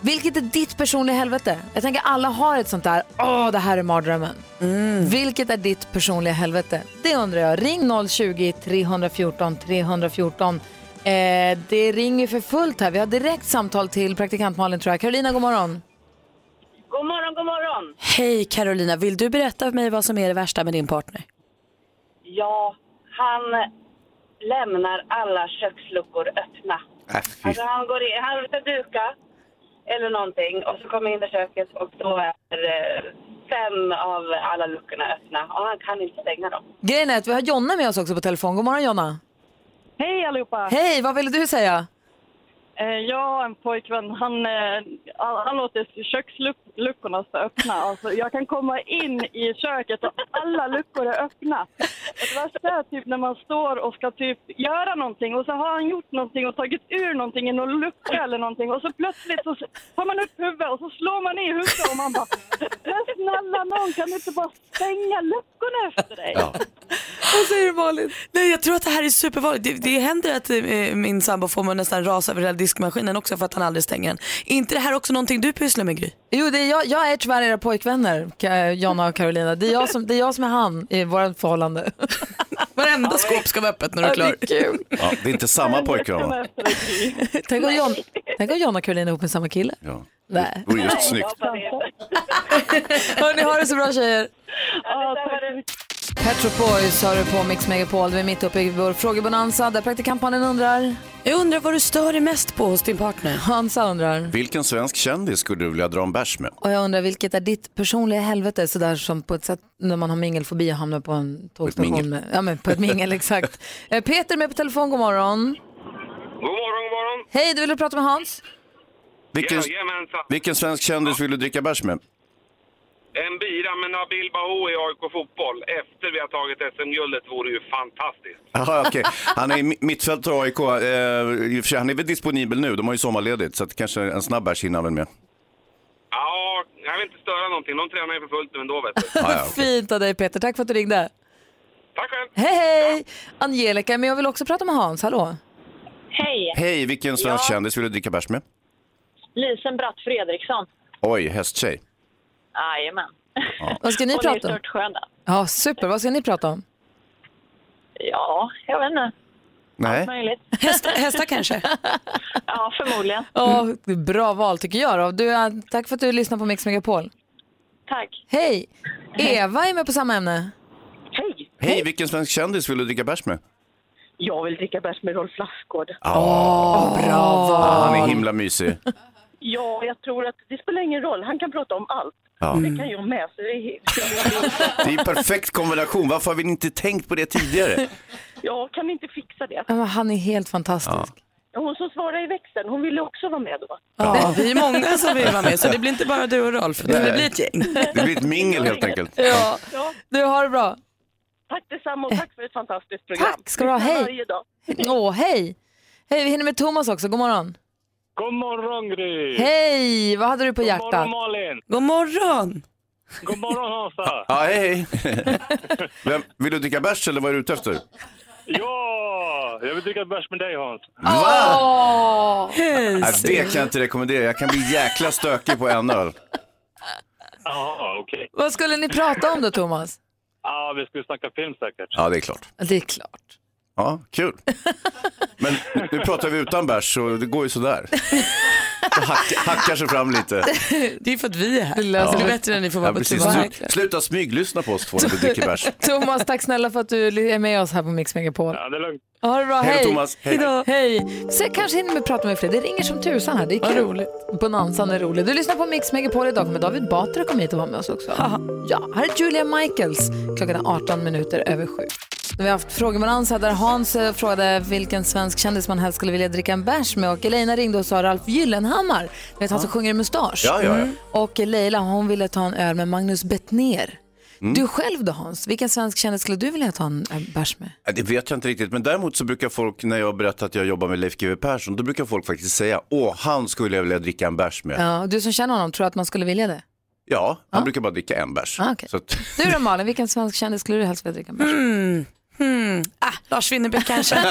A: Vilket är ditt personliga helvete? Jag tänker alla har ett sånt där, åh det här är mardrömmen. Vilket är ditt personliga helvete? Det undrar jag. Ring 020-314 314. Eh, det ringer för fullt här. Vi har direkt samtal till praktikant Malin tror jag. Carolina, god morgon.
J: God morgon, god morgon.
D: Hej Carolina, vill du berätta för mig vad som är det värsta med din partner?
J: Ja, han lämnar alla köksluckor öppna.
B: Äh,
J: Alltså han går in, han ska duka eller någonting och så kommer jag in i köket och då är eh, fem av alla luckorna öppna och han kan inte stänga dem.
A: Grejen är att vi har Jonna med oss också på telefon. God morgon Jonna.
H: Hej allihopa!
A: Hej, vad ville du säga?
H: Eh, Jag har en pojkvän, han, eh, han han låter köksluckorna stå öppna. Alltså, jag kan komma in i köket och alla luckor är öppna. Och det värsta är typ när man står och ska typ göra någonting och så har han gjort någonting och tagit ur någonting i någon lucka eller någonting och så plötsligt så tar man upp huvudet och så slår man i huvudet och man bara Men snälla någon kan du inte bara stänga luckorna efter dig?
D: Vad säger du Malin? Nej jag tror att det här är supervanligt. Det, det händer att eh, min sambo får mig nästan rasa över hela diskmaskinen också för att han aldrig stänger den. Är inte det här också någonting du pysslar med Gry?
A: Jo, det är jag, jag är tyvärr era pojkvänner, Ka- Jonna och Carolina. Det är jag som, det är, jag som är han i vårt förhållande.
D: Varenda skåp ska vara öppet när du är klar.
A: Ja, det är kul.
B: Ja, det är inte samma pojkvän. va?
A: Tänk om, John, tänk om John och Karolina är ihop med samma kille.
B: Ja.
A: Nej.
B: Det vore just snyggt.
A: Hörni, ha det så bra tjejer.
H: Ja, tack.
A: Petro Boys har du på Mix Megapol. Vi är mitt uppe i vår frågebonanza där praktikantmannen undrar.
D: Jag undrar vad du stör dig mest på hos din partner.
A: Hansa undrar.
B: Vilken svensk kändis skulle du vilja dra en bärs med?
A: Och jag undrar vilket är ditt personliga helvete sådär som på ett sätt när man har mingelfobi och hamnar på en
B: mingel.
A: tågstation. Med, ja men på ett mingel exakt. Eh, Peter är med på telefon, god morgon.
K: God morgon, god morgon.
A: Hej, du ville prata med Hans?
B: Vilken,
K: Jajamensan.
B: vilken svensk kändis vill du dricka bärs med?
K: En bira med Nabil Bahoui i AIK Fotboll efter vi har tagit SM-guldet vore ju fantastiskt.
B: Jaha, okej. Han är i mi- mittfältare i AIK. Eh, i och för sig, han är väl disponibel nu, de har ju sommarledigt, så att kanske en snabb bärs hinner han väl med.
K: Ja, jag vill inte störa någonting. De tränar ju för fullt nu ändå, vet du.
A: Fint av dig Peter, tack för att du ringde.
K: Tack själv.
A: Hej hej! Angelica, men jag vill också prata med Hans, hallå?
J: Hej!
B: Hej, vilken svensk
J: Ja.
B: kändis vill du dricka bärs med?
J: Lisen Bratt Fredriksson.
B: Oj, hästtjej.
J: Jajamän.
A: Vad ska ni
J: Hon
A: prata om?
J: är störtsköna.
A: Ja, super, vad ska ni prata om?
J: Ja, jag vet inte.
B: Nej.
J: Möjligt.
D: Hästar, hästar kanske?
J: ja, förmodligen.
A: Ja, bra val tycker jag. Då. Du, eh, tack för att du lyssnar på Mix Megapol.
J: Tack.
A: Hej! Eva är med på samma ämne.
B: Hej, vilken svensk kändis vill du dricka bärs med?
J: Jag vill dricka bärs med Rolf Lassgård.
B: Åh,
A: bra
B: val. Ah. Han är himla mysig.
H: Ja, jag tror att det spelar ingen roll. Han kan prata om allt.
B: Ja.
H: Det kan jag med. Så det är helt...
B: Det är ju perfekt kombination. Varför har vi inte tänkt på det tidigare?
H: Jag kan inte fixa det.
A: Ja, men Han är helt fantastisk.
B: Ja.
H: Hon som svarade i växeln, hon ville också vara med då.
D: Ja, vi är många som vill vara med så det blir inte bara du och Rolf. Det
B: Nej.
D: blir ett gäng.
B: Det blir ett mingel helt enkelt.
A: Ja. Du har det bra.
H: Tack detsamma och tack för ett fantastiskt program.
A: Tack ska du ha.
H: Lyssna
A: Hej.
H: varje dag.
A: Åh, hej! Hej, vi hinner med Thomas också. God morgon.
L: God morgon Gry!
A: Hej! Vad hade du på
L: God
A: hjärtat?
L: morgon Malin!
D: God morgon!
L: God morgon Hansa!
B: Ja, hej, hej. Vem, vill du dricka bärs eller vad är du ute efter?
L: Ja! Jag vill dricka ett bärs med dig Hans.
A: Va?
B: Nej, det kan jag inte rekommendera. Jag kan bli jäkla stökig på en öl.
L: Ja, Ja, okej.
A: Vad skulle ni prata om då, Thomas?
L: Ja, vi skulle snacka film säkert.
B: Ja, det är klart.
A: Det är klart.
B: Ja, kul. Men nu pratar vi utan bärs så det går ju sådär. Det hack, hackar sig fram lite.
A: Det är för att vi är här. Det löser
B: Ja.
A: det bättre än ni får vara
B: Ja,
A: på
B: precis.
A: turné.
B: Slu- Sluta smyglyssna på oss två när vi dricker bärs.
A: Thomas, tack snälla för att du är med oss här på Mix Megapol.
L: Ja, det är lugnt.
A: Ha det bra,
B: Hej
A: hej.
B: då, Thomas. Hej.
A: Hej. då. hej. Så jag kanske hinner med att prata med fler. Det ringer som tusan här. Det är kul. roligt. Bonansan är rolig. Du lyssnar på Mix Megapol idag. Kommer David Batra komma hit och vara med oss också? Ja, här är Julia Michaels. Klockan är 18 minuter över sju. Vi har haft frågebonanza där Hans eh, frågade vilken svensk kändis man helst skulle vilja dricka en bärs med och Elina ringde och sa Ralf Gyllenhammar. Ni vet han som sjunger i mustasch. Mm.
E: Ja, ja, ja.
A: Och Leila hon ville ta en öl med Magnus Bettner.
E: Mm.
A: Du själv då Hans, vilken svensk kändis skulle du vilja ta en eh, bärs med?
B: Ja, Det vet jag inte riktigt, men däremot så brukar folk, när jag berättar att jag jobbar med Leif GW Persson, då brukar folk faktiskt säga, åh, han skulle jag vilja dricka en bärs med. Ja,
A: Ja, du som känner honom, tror att man skulle vilja det?
B: han brukar bara dricka en bärs.
A: Ah, okej.
B: Så att,
A: Du då Malin, vilken svensk kändis skulle du helst vilja dricka med?
D: Mm. Hmm. Ah, Lars Winnerbäck kanske.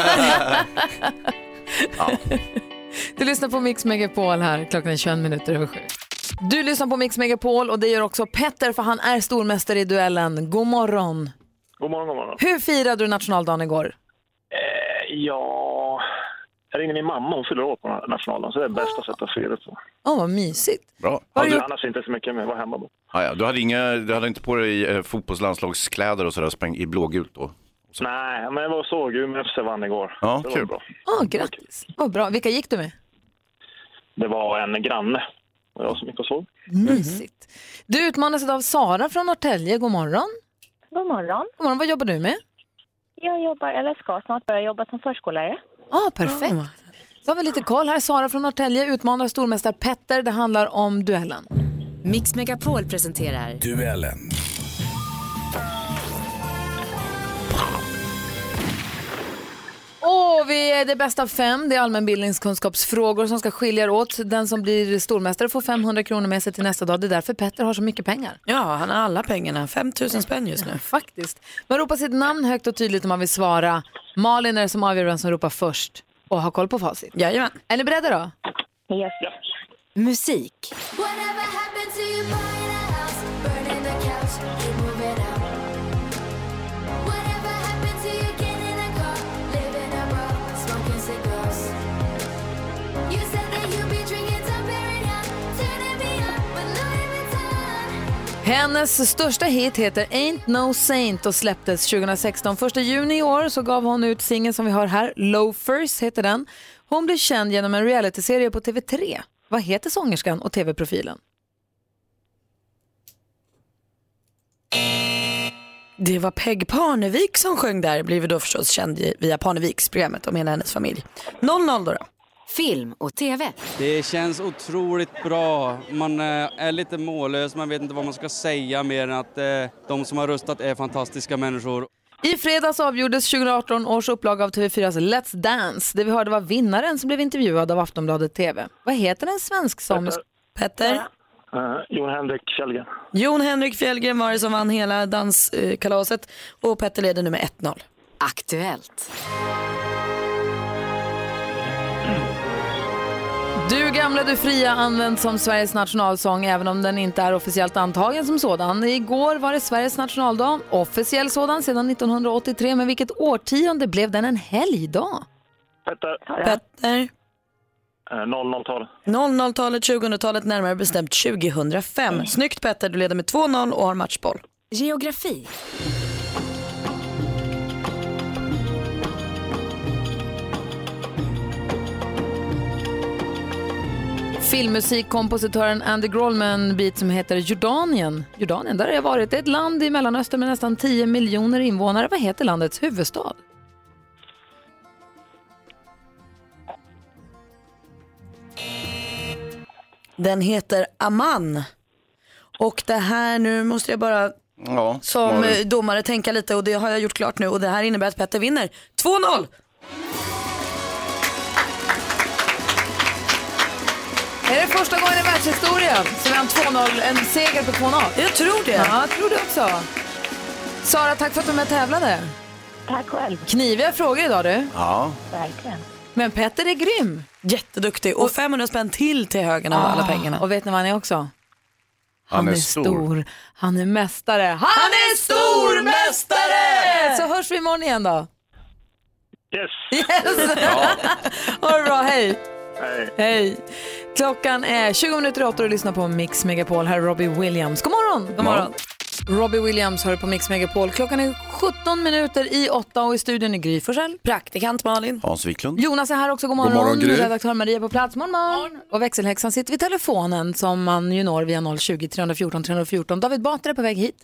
A: Du lyssnar på Mix Megapol här, klockan är 21 minuter över sju. Du lyssnar på Mix Megapol och det gör också Petter för han är stormästare i duellen. God morgon!
M: God morgon, god morgon.
A: Hur firade du nationaldagen igår?
M: Eh, ja, jag ringde min mamma, hon fyller år på nationaldagen, så det är bästa sättet att fira det på.
A: Åh, vad mysigt.
B: bra.
M: Annars inte så mycket, men jag var hemma då.
B: Ah, ja, du, hade inga, du hade inte på dig eh, fotbollslandslagskläder och sådär, spräng- i blågult då?
M: Nej, men jag var och såg Umeå FC vann igår.
B: Ja,
M: det
B: kul.
M: Var bra.
A: Åh, grattis. Vad bra. Vilka gick du med?
M: Det var en granne, och jag som gick och såg.
N: Mhm.
A: Mysigt. Du utmanas idag av Sara från Norrtälje. God morgon.
N: God morgon.
A: God morgon. Vad jobbar du med?
N: Jag jobbar, eller ska snart börja jobba som förskollärare.
A: Ja, ah, perfekt. Så har vi lite koll här. Sara från Norrtälje utmanar stormästare Petter. Det handlar om duellen.
O: Mix Megapol presenterar
P: Duellen.
A: Och vi är det bästa av fem. Det är allmänbildningskunskapsfrågor som ska skilja er åt. Den som blir stormästare får 500 kronor med sig till nästa dag. Det är därför Petter har så mycket pengar.
D: ja, han har alla pengarna. 5 000 spänn just nu.
A: Faktiskt. Man ropar sitt namn högt och tydligt om man vill svara. Malin är det som avgör vem som ropar först och har koll på facit.
D: Jajamän.
A: Är ni beredda då? Yes. Musik. Hennes största hit heter Ain't No Saint och släpptes 2016. Första juni i år så gav hon ut singeln som vi har här, Loafers heter den. Hon blev känd genom en realityserie på TV3. Vad heter sångerskan och TV-profilen?
D: Det var Peg Parnevik som sjöng där, blev då förstås känd i- via Parneviksprogrammet om hela hennes familj. 0-0 då, då.
O: film och tv.
Q: Det känns otroligt bra. Man eh, är lite mållös, man vet inte vad man ska säga mer än att eh, de som har röstat är fantastiska människor.
A: I fredags avgjordes 2018 års upplaga av TV4s Let's Dance. Det vi hörde var vinnaren som blev intervjuad av Aftonbladet TV. Vad heter den svensk sångerska?
D: Petter?
M: Eh, Jon Henrik Källgren.
D: Jon Henrik Fjällgren var det som vann hela danskalaset och Petter leder nu med 1-0.
O: Aktuellt.
A: Du gamla, du fria används som Sveriges nationalsång även om den inte är officiellt antagen som sådan. Igår var det Sveriges nationaldag, officiell sådan sedan 1983. Men vilket årtionde blev den en helgdag?
M: Petter.
D: Petter?
M: Eh, 00-tal.
D: 00-talet, 2000-talet, närmare bestämt
A: Mm.
D: 2005. Snyggt Petter, du leder med 2-0 och har matchboll.
O: Geografi.
A: Filmmusikkompositören Andy Grohl med en bit som heter Jordanien. Jordanien, där har jag varit. Det är ett land i Mellanöstern med nästan 10 miljoner invånare. Vad heter landets huvudstad?
D: Den heter Aman. Och det här, nu måste jag bara
B: Ja,
D: som
B: Malin.
D: eh, domare tänka lite och det har jag gjort klart nu och det här innebär att Petter vinner. 2-0!
A: Är det första gången i världshistorien som vi har en 2-0, en seger på 2-0?
D: Jag tror det.
A: Ja, jag tror det också. Sara, tack för att du var med och tävlade. Tack själv. Kniviga frågor idag du.
B: Ja.
A: Verkligen. Men Petter är grym. Ah,
D: Jätteduktig och 500 spänn till till högen av alla pengarna.
A: Och vet ni vad han är också? Han, är stor. han är mästare. Han är stormästare! Så hörs vi imorgon igen då.
L: Yes!
A: Yes! ha det bra, hej!
L: Hej.
A: Hej! Klockan är 20 minuter i åtta och du lyssnar på Mix Megapol. Här är Robbie Williams. God morgon!
D: God morgon.
A: Robbie Williams hör på Mix Megapol. Klockan är 17 minuter i åtta och i studion är Gry Forssell.
D: Praktikant Malin.
B: Hans Wiklund.
A: Jonas är här också. God
B: God
A: morgon.
B: morgon, Gry.
A: Redaktör Maria på plats. Morgon, morgon. Och växelhäxan sitter vid telefonen som man ju når via 020-314 314. David Batra är på väg hit.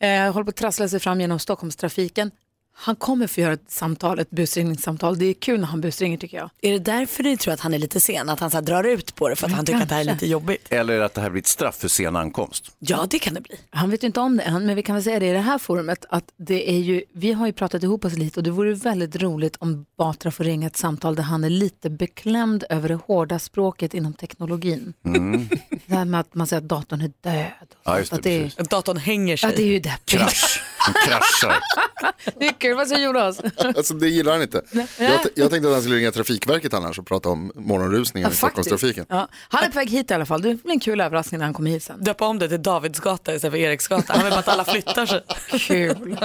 A: Eh, håller på att trassla sig fram genom Stockholmstrafiken. Han kommer få göra ett samtal, ett busringningssamtal. Det är kul när han busringer tycker jag.
D: Är det därför du tror att han är lite sen? Att han så här drar ut på det för att
A: Men
D: han tycker att det här är
A: kanske.
D: lite jobbigt?
B: Eller att det här blir ett straff för sen ankomst.
D: Ja, det kan det bli.
A: Han vet ju inte om det än, men vi kan väl säga det i det här forumet att det är ju, vi har ju pratat ihop oss lite och det vore väldigt roligt om Batra får ringa ett samtal där han är lite beklämd över det hårda språket inom teknologin.
B: Mm.
A: Det här med att man säger att datorn är död.
B: Ja, just det,
A: att det,
B: precis.
A: är,
D: Datorn hänger
A: ja, det är ju deppigt.
B: Krasch. Den kraschar.
A: Det är kul, vad säger Jonas?
C: Alltså det gillar han inte. Jag, t- jag tänkte att han skulle ringa Trafikverket annars och prata om morgonrusningar i Stockholmstrafiken.
A: Ja, han är på väg hit i alla fall. Det blir en kul överraskning när han kommer hit sen.
D: Döpa om det till Davidsgata istället för Eriksgata. Han vill bara att alla flyttar sig.
A: Kul.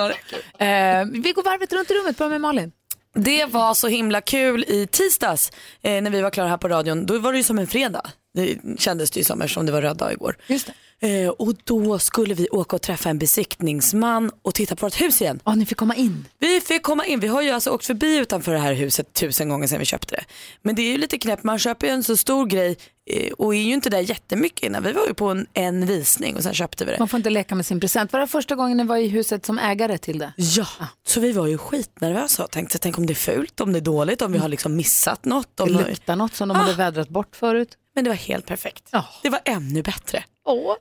A: Eh, vi går varvet runt i rummet, börja med Malin.
D: Det var så himla kul i tisdags eh, när vi var klara här på radion. Då var det ju som en fredag. Det kändes det ju som eftersom det var röd dag igår.
A: Just
D: Eh, och då skulle vi åka och träffa en besiktningsman och titta på vårt hus igen.
A: Ja, ni fick komma in.
D: Vi fick komma in. Vi har ju alltså åkt förbi utanför det här huset tusen gånger sedan vi köpte det. Men det är ju lite knäppt. Man köper ju en så stor grej eh, och är ju inte där jättemycket innan. Vi var ju på en, en visning och sen köpte vi det.
A: Man får inte leka med sin present. Var det första gången ni var i huset som ägare till det?
D: Ja, Ah. så vi var ju skitnervösa och tänkte tänk om det är fult, om det är dåligt, om vi har liksom missat något. Om Ah.
A: Det luktar något som de hade vädrat bort förut.
D: Men det var helt perfekt. Det var ännu bättre.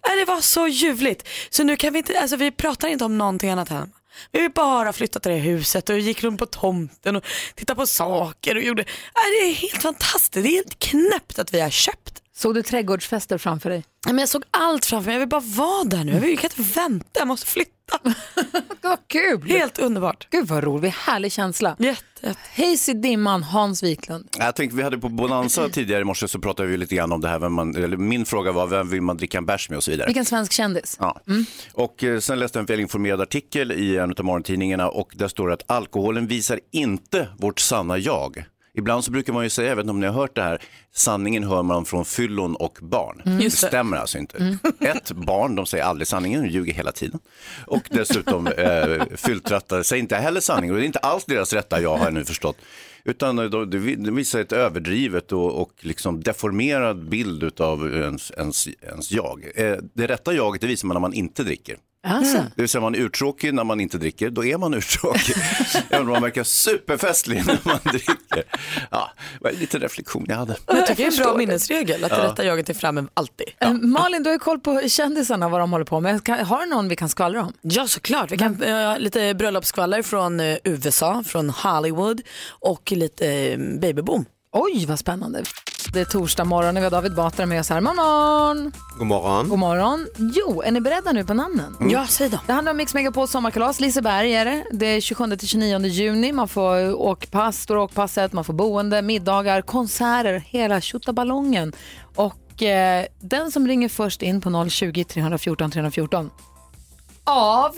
D: Nej, Det var så ljuvligt. Så nu kan vi inte, alltså vi pratar inte om någonting annat här. Vi har bara flyttat till det här huset och gick runt på tomten och tittade på saker och gjorde, Nej, det är helt fantastiskt. Det är helt knäppt att vi har köpt.
A: Såg du trädgårdsfester framför dig?
D: Nej, Men jag såg allt framför mig, jag vill bara vara där nu. Jag vill- jag kan inte vänta, jag måste flytta.
A: Vad kul!
D: Helt underbart.
A: Gud vad roligt, härlig känsla.
D: Jätte.
A: Hayes i dimman, Hans Wiklund.
B: Jag tänkte, vi hade på Bonanza tidigare i morse så pratade vi lite grann om det här. Vem man, eller min fråga var vem vill man dricka en bärs med och så vidare.
A: Vilken svensk kändis.
B: Ja.
E: Mm.
B: Och eh, sen läste jag en välinformerad artikel i en av morgontidningarna och där står det att alkoholen visar inte vårt sanna jag. Ibland så brukar man ju säga, jag vet inte om ni har hört det här, sanningen hör man från fyllon och barn.
E: Mm.
B: Det
E: Just det. Mm.
B: stämmer alltså inte. Ett, barn, de säger aldrig sanningen, de ljuger hela tiden. Och dessutom eh, fylltrattar säger inte heller sanningen och det är inte alls deras rätta jag har jag nu förstått. Utan eh, de- det vi- det visar ett överdrivet och, och liksom deformerad bild av ens, ens, ens jag. Eh, Det rätta jaget det visar man när man inte dricker.
A: Alltså.
B: Det vill säga man är urtråkig när man inte dricker, då är man urtråkig. Även om man verkar superfestlig när man dricker. Ja, det var lite reflektion jag hade.
D: Men jag tycker det är en bra minnesregel att det
B: Ja.
D: rätta jaget är framme alltid.
A: Eh, Malin, du har ju koll på kändisarna, vad de håller på med. Kan- Har du någon vi kan skvallra om?
D: Ja, såklart. Vi kan
A: Mm.
D: eh, lite bröllopsskvaller från eh, USA, från Hollywood och lite eh, babyboom.
A: Oj, vad spännande. Det är torsdag morgon och vi har David Batra med oss här. Morgon!
P: God morgon.
A: God morgon. Jo, är ni beredda nu på namnen?
P: Mm. Ja,
D: säg då.
A: Det handlar om Mix Megapols sommarkalas. Liseberg är det. Det är 27-29 juni. Man får åkpass, stora åkpasset, man får boende, middagar, konserter, hela tjottaballongen. Och eh, den som ringer först in på 020-314 314 av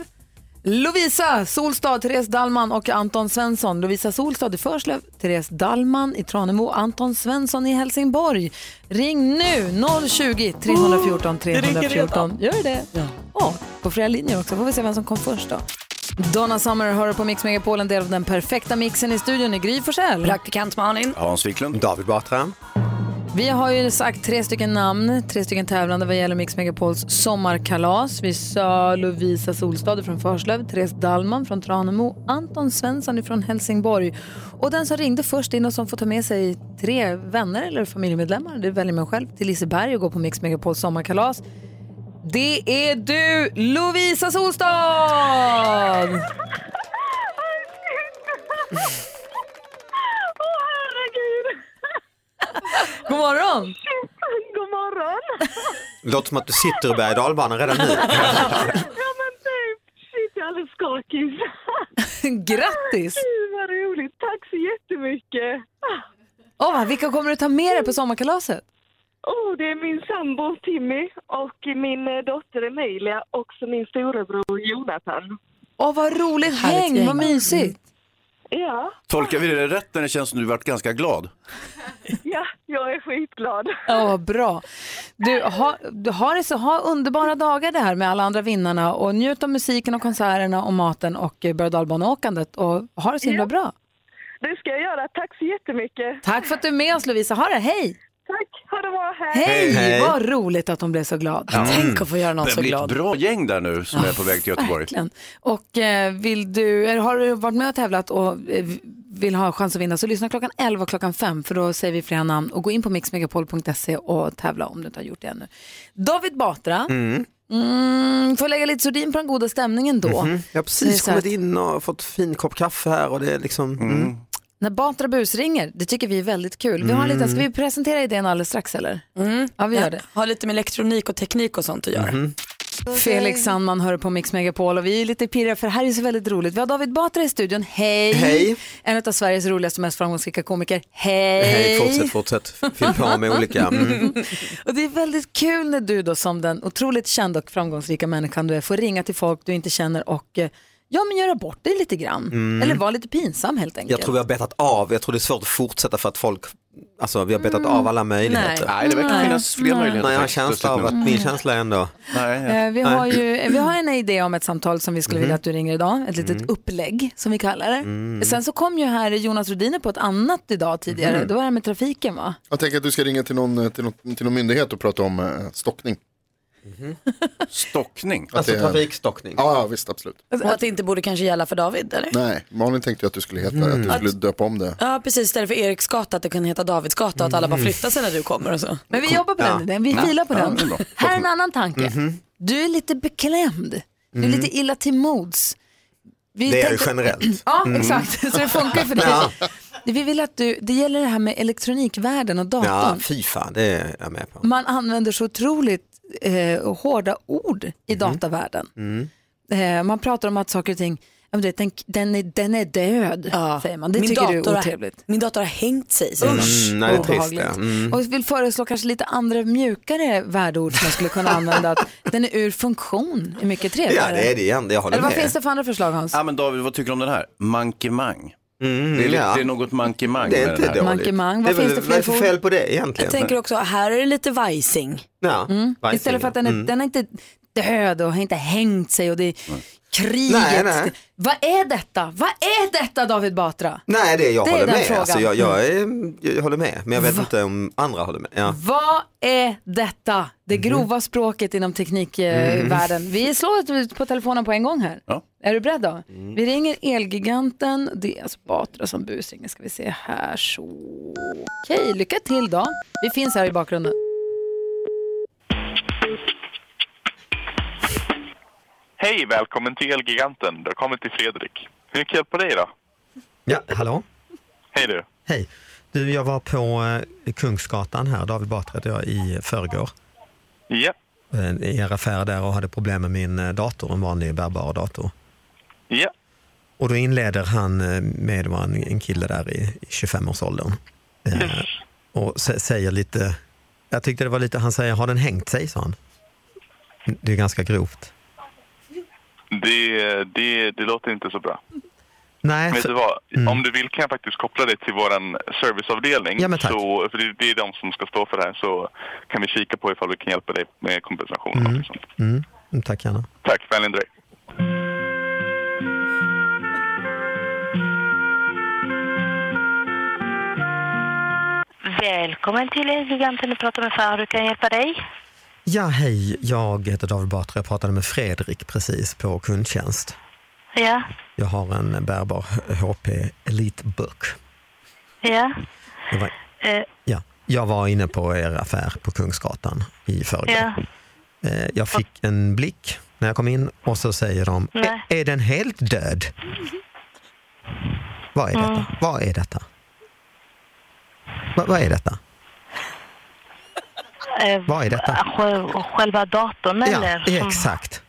A: Lovisa Solstad, Therese Dallman och Anton Svensson. Lovisa Solstad i Förslöv, Therese Dallman i Tranemo, Anton Svensson i Helsingborg. Ring nu 020 314 314. Gör det? Ja. på flera linjer också. Får vi se vem som kom först då. Donna Summer hör på Mix Megapol, en del av den perfekta mixen i studion i Gry Forssell.
D: Praktikant Malin.
B: Hans Wiklund.
P: David Batra.
A: Vi har ju sagt tre stycken namn, tre stycken tävlande vad gäller Mix Megapols sommarkalas. Vi sa Lovisa Solstad från Förslöv, Therese Dallman från Tranemo, Anton Svensson från Helsingborg. Och den som ringde först in och som får ta med sig tre vänner eller familjemedlemmar, det väljer man själv, till Liseberg och gå på Mix Megapols sommarkalas. Det är du, Lovisa Solstad!
J: herregud!
A: God morgon!
J: God morgon!
P: Låter som att du sitter i berg och dalbanan redan nu.
J: Ja men typ, shit jag är alldeles skakig.
A: Grattis!
J: Gud vad roligt, tack så jättemycket.
A: Oh, vilka kommer du ta med dig på sommarkalaset?
H: Oh, det är min sambo Timmy och min eh, dotter Emilia och så min storebror Jonathan.
A: Åh, vad roligt häng, vad mysigt.
H: Ja,
B: Tolkar vi det rätt när det känns som du varit ganska glad?
H: ja, jag är skitglad.
A: Ja, vad bra. Du, ha, du har det så, ha underbara dagar det här med alla andra vinnarna och njut av musiken och konserterna och maten och eh, berg och dalbaneåkandet och ha det så himla bra.
H: Det ska jag göra. Tack så jättemycket.
A: Tack för att du är med oss Lovisa, ha det, hej!
H: Tack, ha det bra. Hej!
A: Hej,
B: hej. Mm.
A: vad roligt att hon blev så glad. Tänk att få göra någon
B: det
A: så
B: blir
A: glad.
B: ett bra gäng där nu som är på väg till Göteborg.
A: Verkligen. Och eh, vill du, eller har du varit med och tävlat och eh, vill ha chans att vinna så lyssna klockan 11 och klockan 5 för då säger vi flera namn och gå in på mixmegapol.se och tävla om du inte har gjort det ännu. David Batra,
P: Mm.
A: mm, får lägga lite sordin på den goda stämningen då.
P: Mhm. Jag har
A: Det är
P: precis
A: så här
P: kommit in och fått fin kopp kaffe här och det är liksom... Mm.
A: När Batra busringer, det tycker vi är väldigt kul. Vi har en liten,
P: Mm.
A: ska vi presentera idén alldeles strax eller? Ja, vi gör det.
D: Har lite med elektronik och teknik och sånt att göra.
A: Felix Sandman hör på Mix Megapol och vi är lite pirriga för det här är så väldigt roligt. Vi har David Batra i studion, hej!
P: Hej.
A: En av Sveriges roligaste och mest framgångsrika komiker, hej!
P: Hej, fortsätt, fortsätt. Fyll på med olika. Mm.
A: och det är väldigt kul när du då som den otroligt kända och framgångsrika människan du är får ringa till folk du inte känner och eh, ja men göra bort dig lite grann.
P: Mm.
A: Eller vara lite pinsam helt enkelt.
P: Jag tror vi har betat av, jag tror det är svårt att fortsätta för att folk, alltså vi har betat av alla möjligheter.
A: Mm. Nej. Nej, det verkar Nej. finnas fler Nej. möjligheter
P: Nej, jag har en
A: faktiskt,
P: känsla av
A: plötsligt
P: att
A: nu.
P: min känsla är ändå...
A: Eh, Vi har, ju, eh, vi har en idé om ett samtal som vi skulle
P: Mhm.
A: vilja att du ringer idag, ett litet
P: Mm.
A: upplägg som vi kallar det.
P: Mm.
A: Sen så kom ju här Jonas Rhodiner på ett annat idag tidigare,
C: Mhm.
A: det var det här med trafiken va?
C: Jag tänker att du ska ringa till någon, eh, till någon, till någon myndighet och prata om eh, stockning.
B: Stockning?
C: Att det är-
P: trafikstockning?
C: Ja, ja, visst absolut.
D: Och att det inte borde kanske gälla för David eller?
C: Nej, Malin tänkte ju att du skulle heta
D: Mm.
C: att du skulle
D: Att-
C: döpa om det.
D: Ja precis, istället för Eriksgata att det kan heta Davidsgata och att alla bara
C: Mm.
D: flyttar sig när du kommer och så.
A: Men vi jobbar på den idén, vi filar på den. Här är en annan tanke. Du är lite beklämd, du är
P: Mhm.
A: lite illa till mods. Vi
P: Det är ju
A: tänkte-
P: generellt.
A: Ja,
P: Mm.
A: exakt. Så det funkar för dig.
P: Ja.
A: Vi vill att du, det gäller det här med elektronikvärlden och datorn.
P: Ja, fy fan, det är jag med på.
A: Man använder så otroligt eh, hårda ord
P: Mhm.
A: i datavärlden.
P: Mm.
A: Eh, man pratar om att saker och ting, ja, men du vet, den, den, är, den är död, säger man. Det
D: Min
A: tycker du
D: dator
A: är
D: har-
A: otrevligt.
D: Min dator har hängt sig. säger man.
P: Mm, nej, det är trist
A: Obehagligt.
P: det. Mm.
A: Och vill föreslå kanske lite andra mjukare värdeord som man skulle kunna använda. Att den är ur funktion, är mycket
P: Ja,
A: trevligare.
P: det är det igen, jag håller
A: Eller vad
P: med.
A: finns det för andra förslag Hans?
B: Ja, men David, vad tycker du om den här? Mankemang. det, är lite,
P: Mm, ja.
B: det är något mankemang
P: Det är
B: med
P: inte
B: den här.
P: dåligt. Mankemang, vad Det är finns väl- det fler vad är det för för ord? fel på det egentligen?
D: Jag tänker också, här är det lite vajsing.
P: Ja,
A: Mm.
P: Vajsing,
A: Istället för att den är,
P: ja. Mm.
A: den är inte död och har inte hängt sig och det är kriget.
P: Nej, nej.
A: Vad är detta? Vad är detta David Batra?
P: Nej, det är jag
A: Det är
P: håller
A: den
P: med.
A: frågan. Mm.
P: Alltså, jag, jag, är, jag håller med, men jag vet inte om andra håller med. Ja.
A: Vad är detta? Det
P: Mhm.
A: grova språket inom teknikvärlden.
P: Mm.
A: världen. Vi slår ut på telefonen på en gång här.
B: Ja.
A: Är du beredd då?
P: Mm.
A: Vi ringer elgiganten. Det är alltså Batra som busringer. Ska vi se här så. Okej, lycka till då. Vi finns här i bakgrunden.
R: Hej, välkommen till Elgiganten. Du har kommit till Fredrik. Hur kan jag hjälpa dig då?
P: ja, hallå?
R: Hej du.
P: Hej. Du, jag var på eh, Kungsgatan här, David Batra heter jag, i förrgår.
R: Ja,
P: Eh, I er affär där och hade problem med min eh, dator, en vanlig bärbar dator.
R: ja,
P: Och då inleder han eh, med, det var en, en kille där i, i 25-årsåldern. Eh, och sä- säger lite, jag tyckte det var lite, han säger har den hängt sig, sa han. Det är ganska grovt.
R: det, det, det låter inte så bra.
P: Nej,
R: Vet
P: för-
R: du vad?
P: Mm.
R: Om du vill kan jag faktiskt koppla dig till vår serviceavdelning.
P: Ja, men tack.
R: Så, för det, det är de som ska stå för det här. Så kan vi kika på ifall vi kan hjälpa dig med kompensation.
P: Mm. Mm, tack gärna.
R: Tack, vänligen dröj.
N: Välkommen till Giganten. Du pratar med Farah. Hur kan jag hjälpa dig?
P: Ja, hej. Jag heter David Batra. Jag pratade med Fredrik precis på kundtjänst.
N: Ja,
P: Jag har en bärbar HP Elitebook.
N: ja.
P: Det var,
N: Eh,
P: ja. Jag var inne på er affär på Kungsgatan i förrgår.
N: ja.
P: Eh, Jag fick en blick när jag kom in och så säger de,
N: Nej.
P: är är den helt död? Vad är detta?
N: Mm.
P: Vad är detta? Va, vad är detta?
N: Eh,
P: Vad är detta?
N: sj- Själva datorn eller?
P: Ja,
N: Som-
P: exakt.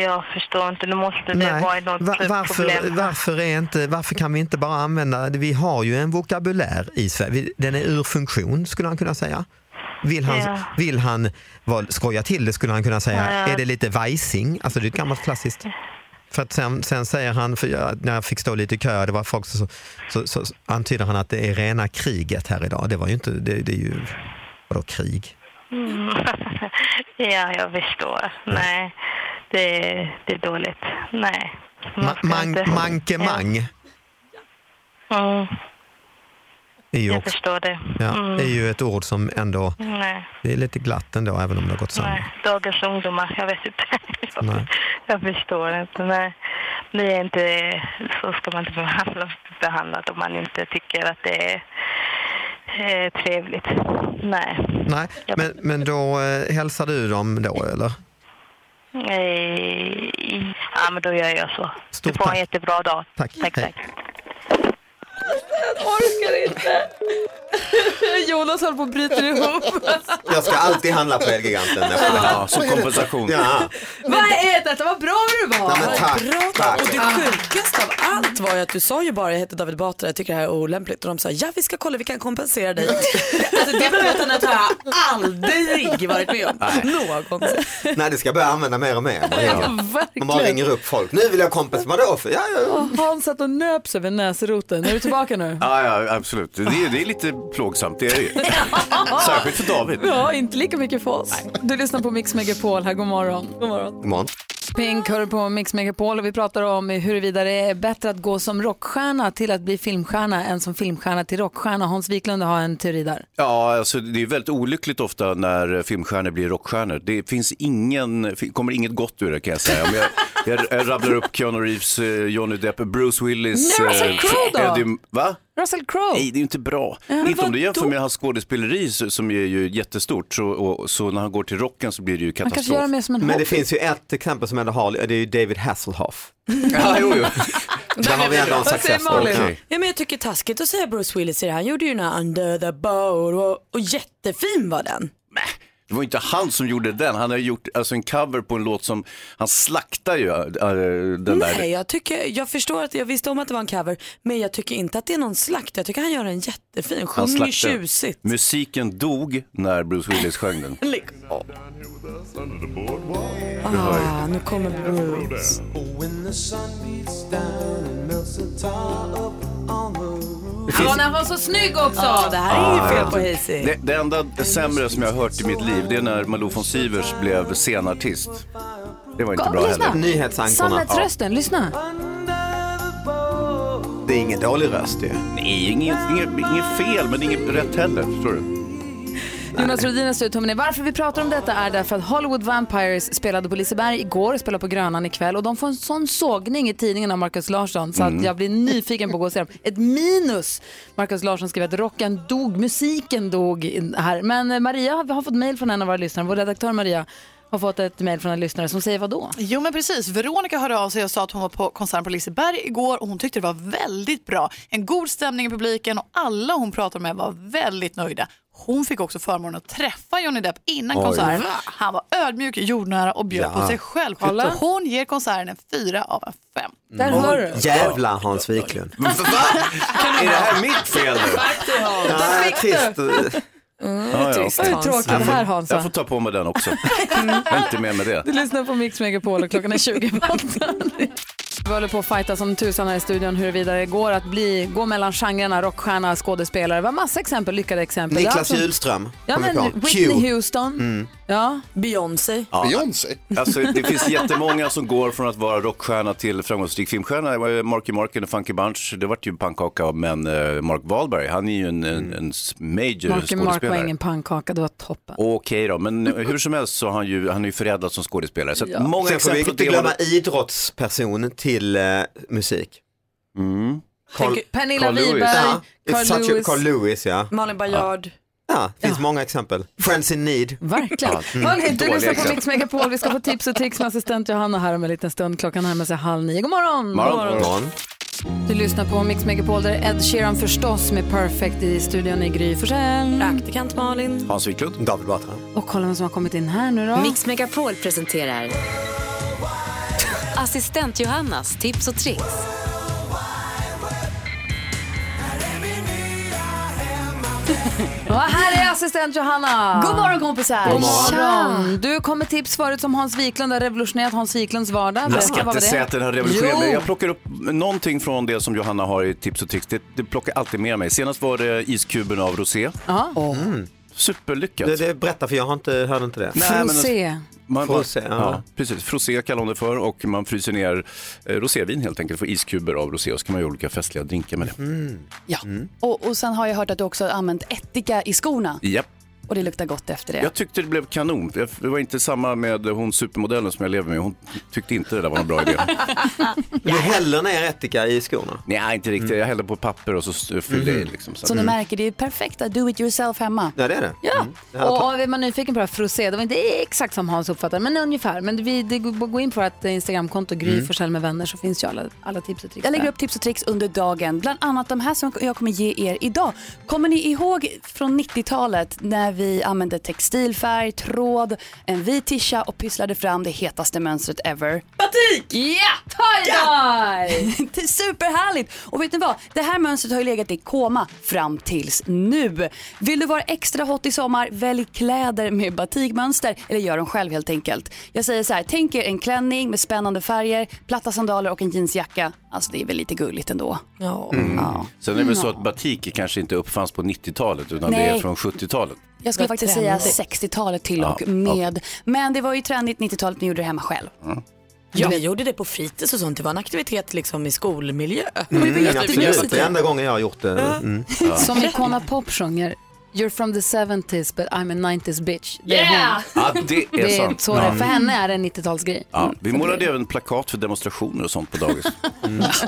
N: Jag förstår inte. Nu måste det vara något typ
P: Va-
S: eh,
P: varför,
N: problem.
P: varför, är inte, varför kan vi inte bara använda, vi har ju en vokabulär i Sverige, Vi- den är ur funktion skulle han kunna säga. Vill han,
J: Ja.
P: vill han vara- skoja till det skulle han kunna säga,
J: Ja.
P: är det lite vajsing? Alltså det är ett gammalt klassiskt. För att sen, sen säger han, för jag, när jag fick stå lite i kö, det var folk som- så, så, så antyder han att det är rena kriget här idag. Det var ju inte, det, det är ju, vadå krig?
S: Mm. ja, jag förstår. Nej, det, det är dåligt. Nej.
P: Ma, mang, mankemang
S: Mm,
P: är ju
S: jag
P: också,
S: förstår det.
P: ja,
S: Mm.
P: är ju ett ord som ändå,
N: Mm.
S: Nej,
P: det är lite glatt ändå även om det har gått sönder.
S: nej, dagens ungdomar, jag vet inte.
P: Nej.
S: jag förstår inte. Nej, det är inte, så ska man inte behandla, behandlad om man inte tycker att det är eh, trevligt. Nej.
P: Nej, men, men då eh, hälsar du dem då eller?
S: Eh, Ja, men då gör jag så. du får en jättebra dag.
P: Tack.
S: tack,
P: Hej.
S: tack.
A: Jag orkar inte. Jonas håller på att bryta ihop.
P: Jag ska alltid handla på Elgiganten.
B: Ja, som kompensation.
P: Ja.
A: Vad är detta? Vad bra du var.
D: Bra, tack. Och det sjukaste av allt var ju att du sa ju bara jag heter David Batra, jag tycker det här är olämpligt och de sa ja vi ska kolla, vi kan kompensera dig. alltså det bemötandet har jag aldrig varit med om.
P: Nej.
D: Någonsin.
P: Nej, det ska jag börja använda mer och mer.
A: Ja,
P: Man bara ringer upp folk. Nu vill jag kompis. Vadå? För, ja, ja, ja.
A: Och Hans satt och nöps över näsroten. Är du tillbaka nu?
B: Ja, ja, absolut. Det är, det är lite plågsamt, det är det ju. Särskilt för David.
A: Ja, inte lika mycket för oss. Du lyssnar på Mix Megapol här. God morgon. God morgon.
P: God morgon.
A: Pink hör på Mix Megapol och vi pratar om huruvida det är bättre att gå som rockstjärna till att bli filmstjärna än som filmstjärna till rockstjärna. Hans Wiklund har en teori där.
B: Ja, alltså det är väldigt olyckligt ofta när filmstjärnor blir rockstjärnor. Det finns ingen, fi- kommer inget gott ur det kan jag säga. Men jag, jag, jag rabblar upp Keanu Reeves, eh, Johnny Depp, Bruce Willis.
A: Nej, Russell
B: eh,
A: Crowe då?
B: Eddie, va?
A: Russell Crowe.
B: Nej, det är ju inte bra.
A: Ja, men
B: inte om
A: vadå?
B: du jämför med hans skådespeleri så- som är ju jättestort. Så, och, så när han går till rocken så blir det ju
A: kanske
B: katastrof.
A: gör det mer som en
P: Men det
A: hobby.
P: finns ju ett exempel som ändå har, det är ju David Hasselhoff.
B: ja, jo, jo.
P: Där har vi ändå en success story. Okej.
D: Ja, men jag tycker det är taskigt att säga Bruce Willis i det. här. Han gjorde ju den här Under the Bowl och, och jättefin var den.
B: Det var ju inte han som gjorde den, han har gjort alltså, en cover på en låt som, han slaktar ju eh, den där.
D: Nej, jag, tycker, jag förstår att jag visste om att det var en cover, men jag tycker inte att det är någon slakt. Jag tycker han gör en jättefin,
B: Han
D: sjunger
B: slaktade.
D: tjusigt.
B: Musiken dog när Bruce Willis sjöng den.
D: Lägg av. Ah, nu kommer Bruce.
A: Ja, han var så snygg också!
D: Ja, det här är inget fel på
B: Ah.
D: Hazy.
B: det, det enda sämre som jag har hört i mitt liv det är när Malou von Sivers blev scenartist. Det var inte bra heller.
A: Samhällsrösten, lyssna.
B: Ja. Det är ingen dålig röst ju. Nej, inget, inget, inget fel men inget rätt heller. Förstår du?
A: Jonas Rhodin har stulit tummen ner. Varför vi pratar om detta är därför att Hollywood Vampires spelade på Liseberg igår, spelar på Grönan ikväll och de får en sån sågning i tidningen av Markus Larsson så att
T: Mm.
A: jag blir nyfiken på att gå och se dem. Ett minus! Markus Larsson skrev att rocken dog, musiken dog in- här. Men eh, Maria vi har fått mejl från en av våra lyssnare, vår redaktör Maria har fått ett mejl från en lyssnare som säger vad då?
U: Jo men precis, Veronica hörde av sig och sa att hon var på konsert på Liseberg igår och hon tyckte det var väldigt bra. En god stämning i publiken och alla hon pratade med var väldigt nöjda. Hon fick också förmånen att träffa Johnny Depp innan
T: Oj.
U: konserten.
T: Va?
U: Han var ödmjuk, jordnära och bjöd
P: Ja.
U: på sig själv.
P: Kolla.
U: Så hon ger konserten en fyra av en fem.
P: Åh, Jävlar Hans Wiklund.
B: Är det här mitt fel nu?
P: Där fick du.
A: Mm,
B: Ja, ja.
A: trist, Vad är Hans. tråkigt det här, Hansa.
B: Jag får ta på mig den också. Jag är inte med med det.
A: Du lyssnar på Mix Megapol och klockan är 20 på åttan. Vi håller på att fighta som tusan här i studion huruvida det går att bli, gå mellan genrerna rockstjärna, skådespelare. Det var massa exempel, lyckade exempel. Det är
P: Niklas
A: alltså-
P: Hjulström.
A: Ja,
P: kommer
A: men
P: på.
A: Whitney
P: Q.
A: Houston.
P: Mm.
A: Ja. Beyoncé.
B: Ja.
C: Beyoncé?
B: Alltså, det finns jättemånga som går från att vara rockstjärna till framgångsrik filmstjärna. Det var ju Marky Mark and the Funky Bunch, det vart ju en pannkaka av, men eh, Mark Wahlberg, han är ju en, en, en
A: Marky
B: major
A: Mark var
B: skådespelare.
A: ingen pannkaka, det var toppen.
B: Okej då, men eh, hur som helst så har han ju, han är ju förädlad som skådespelare. Så att
A: Ja.
B: många
P: Sen får vi
B: exempel
P: inte
B: på det
P: glömma
B: hållet.
P: idrottsperson till eh, musik.
B: Mm.
P: Carl,
A: Tänker- Pernilla Wiberg,
P: Ja,
A: Carl
P: it's such a-
A: Lewis.
P: Carl Lewis, ja.
D: Malin Baryard.
P: Ja, det finns många exempel. Friends in need.
A: Verkligen.
P: Mm.
A: Hörni, du lyssnar på Mix Megapol. Vi ska få tips och tricks med assistent Johanna här om en liten stund. Klockan närmar sig halv nio. God morgon! Du lyssnar på Mix Megapol, där är Ed Sheeran förstås med Perfect i studion i Gry Forssell. Praktikant Malin.
B: Hans Wiklund.
P: David Batra.
A: Och kolla vem som har kommit in här nu då.
O: Mix Megapol presenterar Assistent Johannas tips och tricks.
A: Och här är assistent Johanna.
V: God morgon, kompisar.
A: God
V: God
A: morgon.
V: morgon.
A: Du kom med tips förut som Hans Wiklund har revolutionerat Hans Wiklunds vardag.
B: Jag
A: Berätta,
B: ska
A: vad var
B: inte säga att den har revolutionerat
A: Jo.
B: mig. Jag plockar upp någonting från det som Johanna har i tips och tricks. Det, det plockar alltid med mig. Senast var det iskuben av rosé.
A: Ja.
B: Mm. Superlyckat.
P: Det, det, berätta för jag har inte, hörde inte det.
A: Frosé.
B: alltså, Man,
P: Frosé,
B: man,
P: ja.
B: ja. precis. Frosé kallar hon det för och man fryser ner eh, rosévin helt enkelt. Får iskuber av rosé och så kan man göra olika festliga drinkar med det.
V: Mm-hmm. Ja.
P: Mm.
V: Och, och sen har jag hört att du också har använt ättika i skorna.
B: Japp.
V: Och det luktar gott efter det.
B: Jag tyckte det blev kanon. Jag- Det var inte samma med hon supermodellen som jag lever med. Hon tyckte inte det där var en bra idé.
P: Du häller ner ättika i skorna? Mm.
B: Nej, inte riktigt. Jag hällde på papper och så s- fyllde jag i. Liksom, så.
V: Som du märker, det är perfekta do it yourself hemma.
P: Ja, det är det.
V: Ja.
B: Mm.
A: Och, och är man nyfiken på det här frosé, det var inte exakt som Hans uppfattade men ungefär. Men vi, det, går- gå in på vårt Instagramkonto, Gry
V: Mm.
A: Forssell med vänner, så finns ju alla, alla tips och tricks
V: Jag
A: där.
V: lägger upp tips och tricks under dagen. Bland annat de här som jag kommer ge er idag. Kommer ni ihåg från 90-talet när vi använde textilfärg, tråd, en vit tisha och pysslade fram det hetaste mönstret ever? Batik! Ja! Tie-dye! det är superhärligt! Och vet ni vad? Det här mönstret har ju legat i koma fram tills nu. Vill du vara extra hot i sommar, välj kläder med batikmönster eller gör dem själv helt enkelt. Jag säger så här, tänk er en klänning med spännande färger, platta sandaler och en jeansjacka. Alltså det är väl lite gulligt ändå. Ja.
B: Mm. Sen är det väl så att batik kanske inte uppfanns på 90-talet utan det är
V: Nej.
B: från 70-talet.
V: Jag skulle faktiskt säga 60-talet till
B: Ja, Mm.
V: och med. Men det var ju trendigt 90-talet, ni gjorde det hemma själv.
F: Ja. Vi gjorde det på fritids och sånt. Det var en aktivitet liksom i skolmiljö.
P: Mm, absolut, det är enda gången jag har gjort det. Mm.
A: Som Icona Pop sjunger, You're from the 70s but I'm a 90s bitch. Det är
V: Yeah!
A: hon.
B: Ja, det är
A: det
B: sant.
A: Så det, är.
B: Ja.
A: för henne är det en 90-talsgrej.
B: Ja, vi målade även plakat för demonstrationer och sånt på dagis.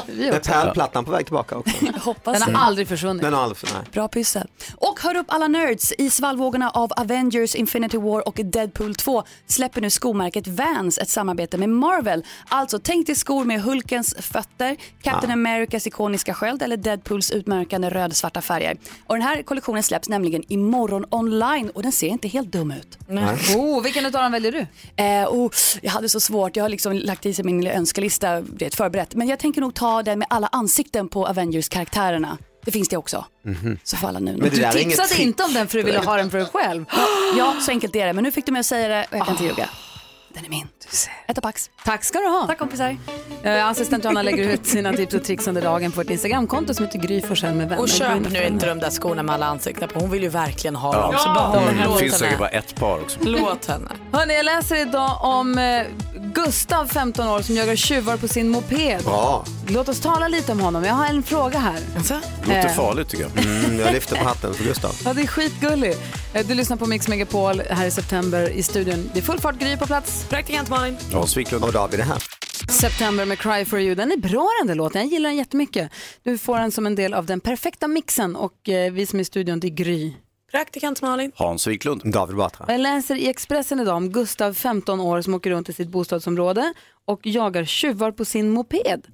A: Vi
P: Är pärlplattan på väg tillbaka också?
V: Hoppas
A: Den
V: det.
A: har aldrig försvunnit.
P: Den har aldrig, nej.
V: Bra pyssel. Och hör upp alla nerds, i svallvågorna av Avengers, Infinity War och Deadpool 2 släpper nu skomärket Vans ett samarbete med Marvel. Alltså tänk dig skor med Hulkens fötter, Captain
A: Ah.
V: Americas ikoniska sköld eller Deadpools utmärkande röd-svarta färger. Och den här kollektionen släpps nämligen imorgon online och den ser inte helt dum ut.
A: Nej. Oh, vilken utav dem väljer du?
V: Eh, oh, jag hade så svårt, jag har liksom lagt i sig min lilla önskelista vet, förberett. Men jag tänker nog ta den med alla ansikten på Avengers-karaktärerna. Det finns det också. Så får alla nu.
A: Mhm. Men det Du där är tipsade inget trick. inte om den för du ville ha den för dig själv. Ah.
V: ja, så enkelt är det. Men nu fick du mig att säga det och jag kan inte ljuga. Den är min. Ett och pax.
A: Tack ska du ha.
V: Tack kompisar.
A: Eh, Assistent Johanna lägger ut sina tips och tricks under dagen på ett Instagramkonto som heter Gry Forssell med vänner.
F: Och
A: Gå
F: köp
A: in
F: nu inte de där skorna med alla ansikten på. Hon vill ju verkligen ha dem.
B: Ja.
F: Så behåll
B: Mm. Det
F: låt
B: finns säkert
F: henne.
B: bara ett par också.
F: Låt henne.
A: Hörrni, jag läser idag om eh, Gustav, 15 år, som jagar tjuvar på sin moped.
P: Bra.
A: Låt oss tala lite om honom. Jag har en fråga här.
P: Låter
A: Eh,
P: farligt
B: tycker
P: jag. Mm, jag lyfter på hatten för Gustav.
A: Ja, det är skitgulligt. Eh, Du lyssnar på Mix Megapol här i september i studion. Det är full fart Gry på plats.
F: Praktikant Malin.
B: Hans Wiklund.
P: Och David är här.
A: September med Cry for you. Den är bra den där låten. Jag gillar den jättemycket. Du får den som en del av den perfekta mixen och eh, vi som är i studion det är Gry.
F: Praktikant Malin.
B: Hans Wiklund.
P: David Batra.
A: Och Jag läser i Expressen idag om Gustav, 15 år, som åker runt i sitt bostadsområde och jagar tjuvar på sin moped.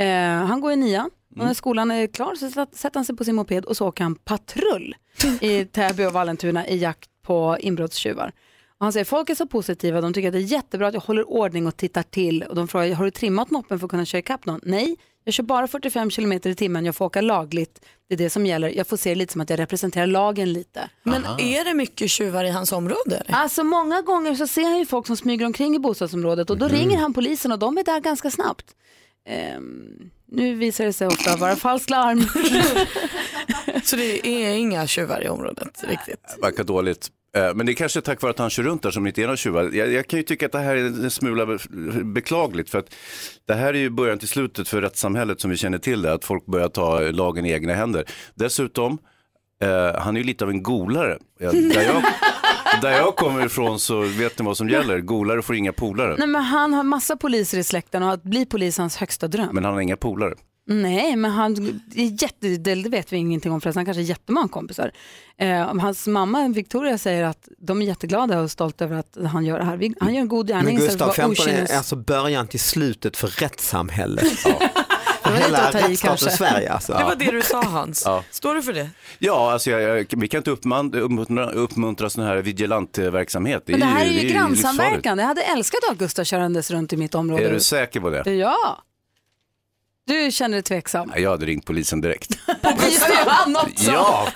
A: Eh, han går i nian och när skolan är klar så satt- sätter han sig på sin moped och så åker han patrull i Täby och Vallentuna i jakt på inbrottstjuvar. Och han säger folk är så positiva, de tycker att det är jättebra att jag håller ordning och tittar till. Och de frågar, har du trimmat moppen för att kunna köra ikapp någon? Nej, jag kör bara 45 km i timmen, jag får åka lagligt. Det är det som gäller, jag får se det lite som att jag representerar lagen lite.
F: Men är det mycket tjuvar i hans område? Eller?
A: Alltså många gånger så ser han ju folk som smyger omkring i bostadsområdet och då ringer han polisen och de är där ganska snabbt. Ehm, nu visar det sig ofta vara falskt larm.
F: Så det är inga tjuvar i området riktigt?
B: Verkar dåligt. Eh, Men det är kanske tack vare att han kör runt där som det inte är några tjuvar. Jag, jag kan ju tycka att det här är en smula be- beklagligt för att det här är ju början till slutet för rättssamhället som vi känner till det, att folk börjar ta eh, lagen i egna händer. Dessutom, eh, han är ju lite av en golare. Ja, där, jag, där jag kommer ifrån så vet ni vad som gäller, golare får inga polare.
A: Nej men han har massa poliser i släkten och att bli polis är hans högsta dröm.
B: Men han har inga polare.
A: Nej men han är jätte, det det vet vi ingenting om förresten, han kanske har jättemånga kompisar. Ehm, hans mamma Victoria säger att de är jätteglada och stolta över att han gör det här. Vi- Han gör en god
P: Men
A: gärning istället för
P: Gustav
A: att vara
P: 15
A: okynnes.
P: är alltså början till slutet för rättssamhället. För
A: lite
P: hela
A: att ta i
P: rättsstaten
A: kanske.
P: Sverige alltså.
F: Det var det du sa Hans.
B: Ja.
F: Står du för det?
B: Ja, alltså jag, jag, vi kan inte uppmuntra, uppmuntra, uppmuntra sån här vigilantverksamhet.
A: Men det här är ju
B: det livsfarligt.
A: grannsamverkan. Jag hade älskat att ha Gustav körandes runt i mitt område.
B: Är du säker på det?
A: Ja. Du känner dig tveksam?
B: Nej, Jag hade ringt polisen direkt.
A: På Gustav också?
B: Ja,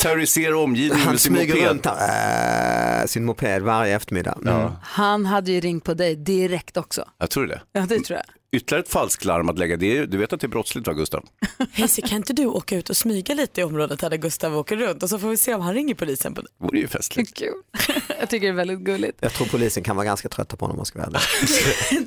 B: terrorisera omgivningen
P: Han
B: med sin
P: smyger
B: moped.
P: runt här, äh, sin moped varje eftermiddag. Mm.
A: Han hade ju ringt på dig direkt också.
B: Jag tror det.
A: Ja, det tror jag.
B: Ytterligare ett falsklarm att lägga. Det är, du vet att det är brottsligt va, Gustav?
D: Hayes, kan inte du åka ut och smyga lite i området här där Gustav åker runt och så får vi se om han ringer polisen. På det.
B: vore ju festligt.
A: Jag tycker det är väldigt gulligt.
P: Jag tror polisen kan vara ganska trötta på honom om man ska vara ärlig.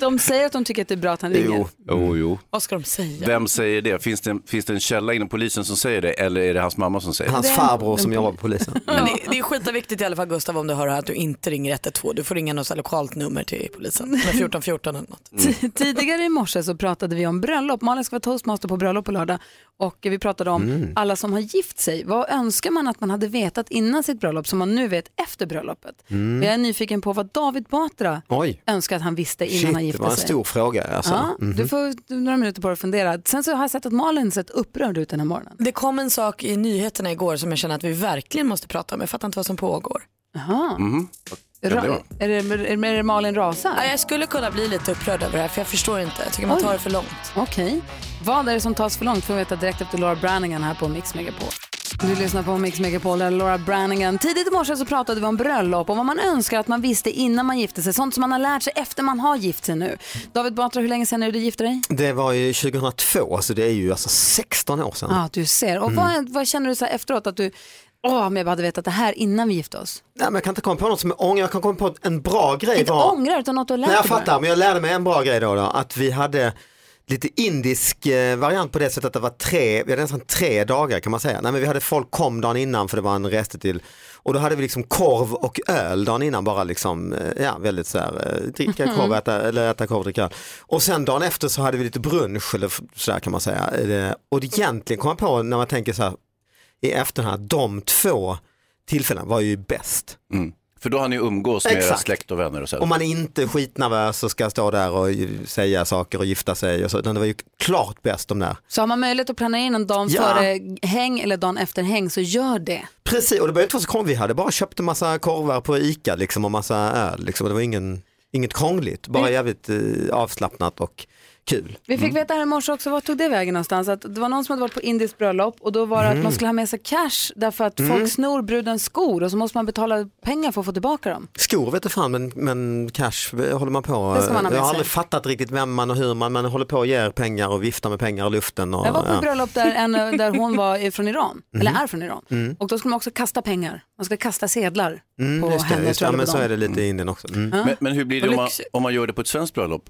A: De säger att de tycker att det är Mm. bra att han ringer.
B: Jo, jo, jo.
A: Vad ska de säga?
B: Vem säger det? Finns det, en, finns det en källa inom polisen som säger det eller är det hans mamma som säger det?
P: Hans farbror som jobbar på polisen.
D: Men det, det är skitaviktigt i alla fall Gustav om du hör här att du inte ringer 112. Du får ringa något så här lokalt nummer till polisen. Med 1414 eller något.
A: T- Tidigare i morse så pratade vi om bröllop. Malin ska vara toastmaster på bröllop på lördag och vi pratade om
D: Mm.
A: alla som har gift sig. Vad önskar man att man hade vetat innan sitt bröllop som man nu vet efter bröllopet?
P: Mm.
A: Och Jag är nyfiken på vad David Batra
P: Oj,
A: önskar att han visste innan
P: shit,
A: han
P: det
A: gifte
P: var en
A: sig.
P: stor fråga. Alltså.
A: ja,
P: Mhm.
A: Du får några minuter på dig att fundera. Sen så har jag sett att Malin sett upprörd ut den här morgonen.
D: Det kom en sak i nyheterna igår som jag känner att vi verkligen måste prata om. Jag fattar inte vad som pågår.
A: Jaha.
B: Mhm.
A: Ra- är, det, är, det, är det Malin rasar?
D: Ja, jag skulle kunna bli lite upprörd över det här för jag förstår inte. Jag tycker man
A: Oj.
D: tar det för långt.
A: Okej. Vad är det som tas för långt får vi veta direkt efter Laura Branningan här på Mix Megapol. Du lyssnar på Mix Megapol, där Laura Branningan. Tidigt i morse så pratade vi om bröllop och vad man önskar att man visste innan man gifte sig. Sånt som man har lärt sig efter man har gift sig nu. David Batra, hur länge sedan är det du gifte dig?
P: Det var ju 2002, så det är ju alltså 16 år sedan.
A: Ja, ah, du ser.
P: Mm.
A: Och vad, vad känner du så här efteråt att du, åh, om jag bara hade vetat det här innan vi gifte oss.
P: Nej, men jag kan inte komma på något som är ånger, jag kan komma på en bra grej.
A: Inte
P: var...
A: ångrar utan något du har lärt
P: Nej, jag
A: dig bara.
P: fattar, men jag lärde mig en bra grej då, då att vi hade lite indisk eh, variant på det sättet att det var tre, vi hade nästan tre dagar kan man säga. Nej men vi hade folk kom dagen innan för det var en reste till och då hade vi liksom korv och öl dagen innan bara liksom, eh, ja väldigt så här, eh, dricka korv,
M: Mhm.
P: äta, eller äta korv, dricka öl. Och sen dagen efter så hade vi lite brunch eller f- så där kan man säga. Eh, Och det egentligen kom jag på när man tänker så här i efterhand, att de två tillfällena var ju bäst.
B: Mm. För då har ni umgås med era
P: Exakt.
B: släkt och vänner och så.
P: Om man är inte skitnervös och ska stå där och ju- säga saker och gifta sig och så, utan det var ju klart bäst de där.
A: Så har man möjlighet att planera in en dag
P: Ja.
A: före häng eller dagen efter häng så gör det.
P: Precis, och det behöver inte vara så konstigt, vi hade bara köpt en massa korvar på ICA liksom och massa öl liksom, och det var ingen, inget krångligt, bara jävligt eh, avslappnat och kul. Mm.
A: Vi fick veta här i morse också, vart tog det vägen någonstans? Att det var någon som hade varit på indiskt bröllop och då var det att
P: Mm.
A: man skulle ha med sig cash därför att
P: Mm.
A: folk snor brudens skor och så måste man betala pengar för att få tillbaka dem.
P: Skor vet du fan men, men cash eh, håller man på.
A: Det ska man ha med
P: jag har
A: sig.
P: aldrig fattat riktigt vem man och hur man, man håller på och ger pengar och viftar med pengar i luften. Och,
A: Jag var på
P: ja.
A: ett bröllop där, en, där hon var från Iran,
P: Mm.
A: eller är från Iran.
P: Mm.
A: Och då skulle man också kasta pengar, man ska kasta sedlar
P: Mm,
A: på
P: just det,
A: henne.
P: just
A: tror
P: det. Ja,
A: jag
P: men
A: på
P: så
A: dem.
P: är det lite i Indien också. Mm.
A: Ja.
B: Men, men hur blir det
A: Och
B: om man,
A: lyx-
B: om man gör det på ett svenskt bröllop?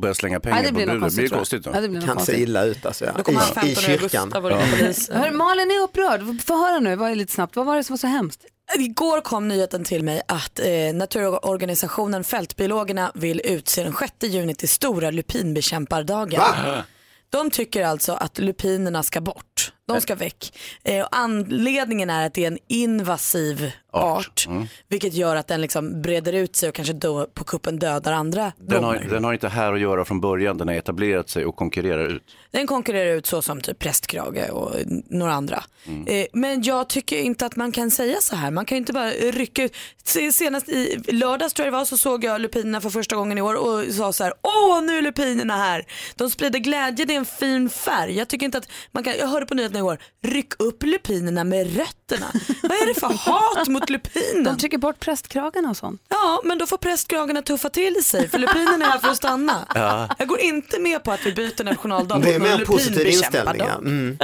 B: Börjar slänga pengar
A: Ja, det blir
B: på
A: nog
B: bruden? Blir det
A: konstigt,
B: konstigt då?
A: tror jag. Ja, det blir nog
P: Kan se
A: konstigt.
P: illa ut alltså. Ja.
A: Då kommer han
P: I,
A: 15
P: i
A: augusti
P: kyrkan.
D: och var det Ja.
B: Mm.
D: polis.
A: Hör, Malin är upprörd, få höra nu, vad är lite snabbt, vad var det som var så hemskt?
D: Igår kom nyheten till mig att eh, naturorganisationen Fältbiologerna vill utse den 6 juni till stora lupinbekämpardagen.
J: Va?
D: De tycker alltså att lupinerna ska bort. De ska väck. Eh, och anledningen är att det är en invasiv art,
B: Mm.
D: vilket gör att den liksom breder ut sig och kanske då på kuppen dödar andra
B: Den har,
D: blommor.
B: den har inte här att göra från början, den har etablerat sig och konkurrerar ut.
D: Den konkurrerar ut så som typ prästkrage och n- några andra. Eh, Men jag tycker inte att man kan säga så här. Man kan ju inte bara rycka ut. Se- Senast i lördags tror jag det var så såg jag lupinerna för första gången i år och sa så här. Åh nu är lupinerna här. De sprider glädje, det är en fin färg. Jag tycker inte att man kan, jag hörde på nyheterna igår. Ryck upp lupinerna med rötterna. Vad är det för hat mot lupinen?
A: De trycker bort prästkragarna och sånt.
D: Ja men då får prästkragarna tuffa till sig för lupinerna är här för att stanna.
P: Ja.
D: Jag går inte med på att vi byter nationaldag
P: Det är
D: mot någon
P: mer en positiv
D: lupinbekämpardag.
P: inställning. Ja. Mm.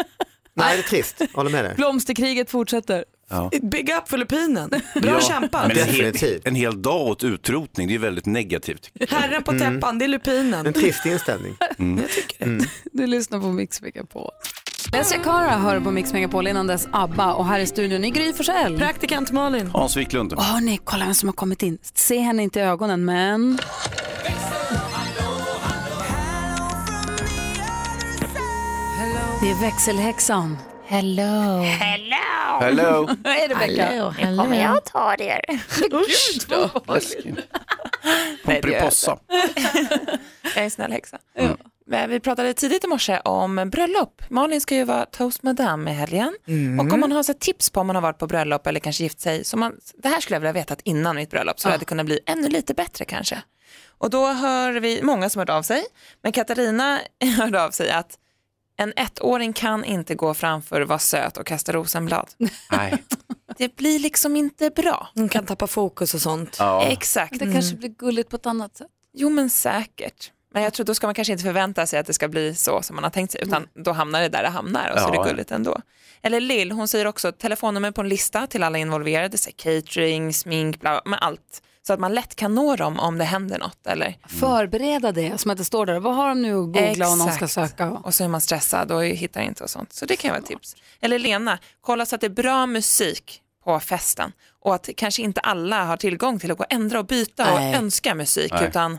P: Nej, det är trist. Håller med dig.
A: Blomsterkriget fortsätter.
B: Ja.
D: Big up för lupinen. Bra kämpat.
B: Men en, hel, en hel dag åt utrotning, det är väldigt negativt.
D: Herren på
B: Mm.
D: täppan, det är lupinen.
P: inställning.
B: Jag
D: tycker
B: det. Mm.
A: Du lyssnar på Mix Megapol. Lesja Cara hör på Mix Megapol innan dess ABBA och här i studion är Gry Forssell.
D: Praktikant Malin.
B: Hans Wiklund.
A: Hörni, kolla vem som har kommit in. Se henne inte i ögonen men... Det är växelhäxan. Hello.
W: Hello!
B: Hello.
A: Hej Rebecka.
W: Hello, hello. Kommer jag att ta er? Usch då!
B: Pomperipossa.
T: Jag
B: Mm.
T: är en snäll häxa. Men vi pratade tidigt i morse om bröllop. Malin ska ju vara toastmadam i helgen.
J: Mm.
T: Och om man har så här tips på om man har varit på bröllop eller kanske gift sig. Så man, det här skulle jag vilja veta innan mitt bröllop så
A: Ja.
T: jag hade kunnat bli ännu lite bättre kanske. Och då hör vi många som hört av sig, men Katarina hörde av sig att en ettåring kan inte gå framför, vara söt och kasta rosenblad.
B: Nej.
T: Det blir liksom inte bra.
D: Hon kan tappa fokus och sånt.
B: Ja.
T: Exakt.
H: Det kanske blir gulligt på ett annat sätt.
T: Jo men säkert. Men jag tror då ska man kanske inte förvänta sig att det ska bli så som man har tänkt sig utan då hamnar det där det hamnar och så är
B: Mm. Ja.
T: det gulligt ändå. Eller Lill, hon säger också telefonnummer på en lista till alla involverade, så här catering, smink, bla, bla, men allt. Så att man lätt kan nå dem om det händer något eller
H: Förbereda det som att det står där. Vad har de nu att googla och någon ska
T: Exakt.
H: söka?
T: Och så är man stressad och hittar inte och sånt. Så det kan vara ett tips. Eller Lena, kolla så att det är bra musik på festen och att kanske inte alla har tillgång till att gå och ändra och byta
H: Nej.
T: och önska musik
B: Nej.
T: utan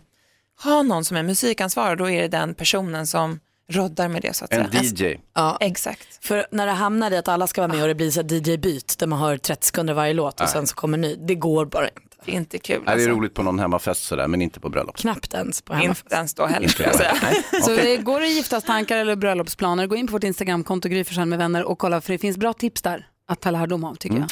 T: ha någon som är musikansvarig då är det den personen som roddar med det så att
B: En
T: säga.
B: DJ.
T: Ja. Exakt.
D: För när det hamnar i att alla ska vara med och det blir så här DJ-byt där man har 30 sekunder varje låt och sen så kommer ny. Det går bara inte.
T: Det är inte kul.
B: Nej, det
A: alltså.
B: är roligt på någon hemmafest sådär, men inte på bröllop.
D: Knappt ens på
H: hemmafest.
T: alltså. Inte ens då heller skulle jag säga.
H: Så det går det giftastankar eller bröllopsplaner, gå in på vårt Instagramkonto Gry Forssell med vänner och kolla för det finns bra tips där att ta lärdom av tycker
A: Mm.
H: jag.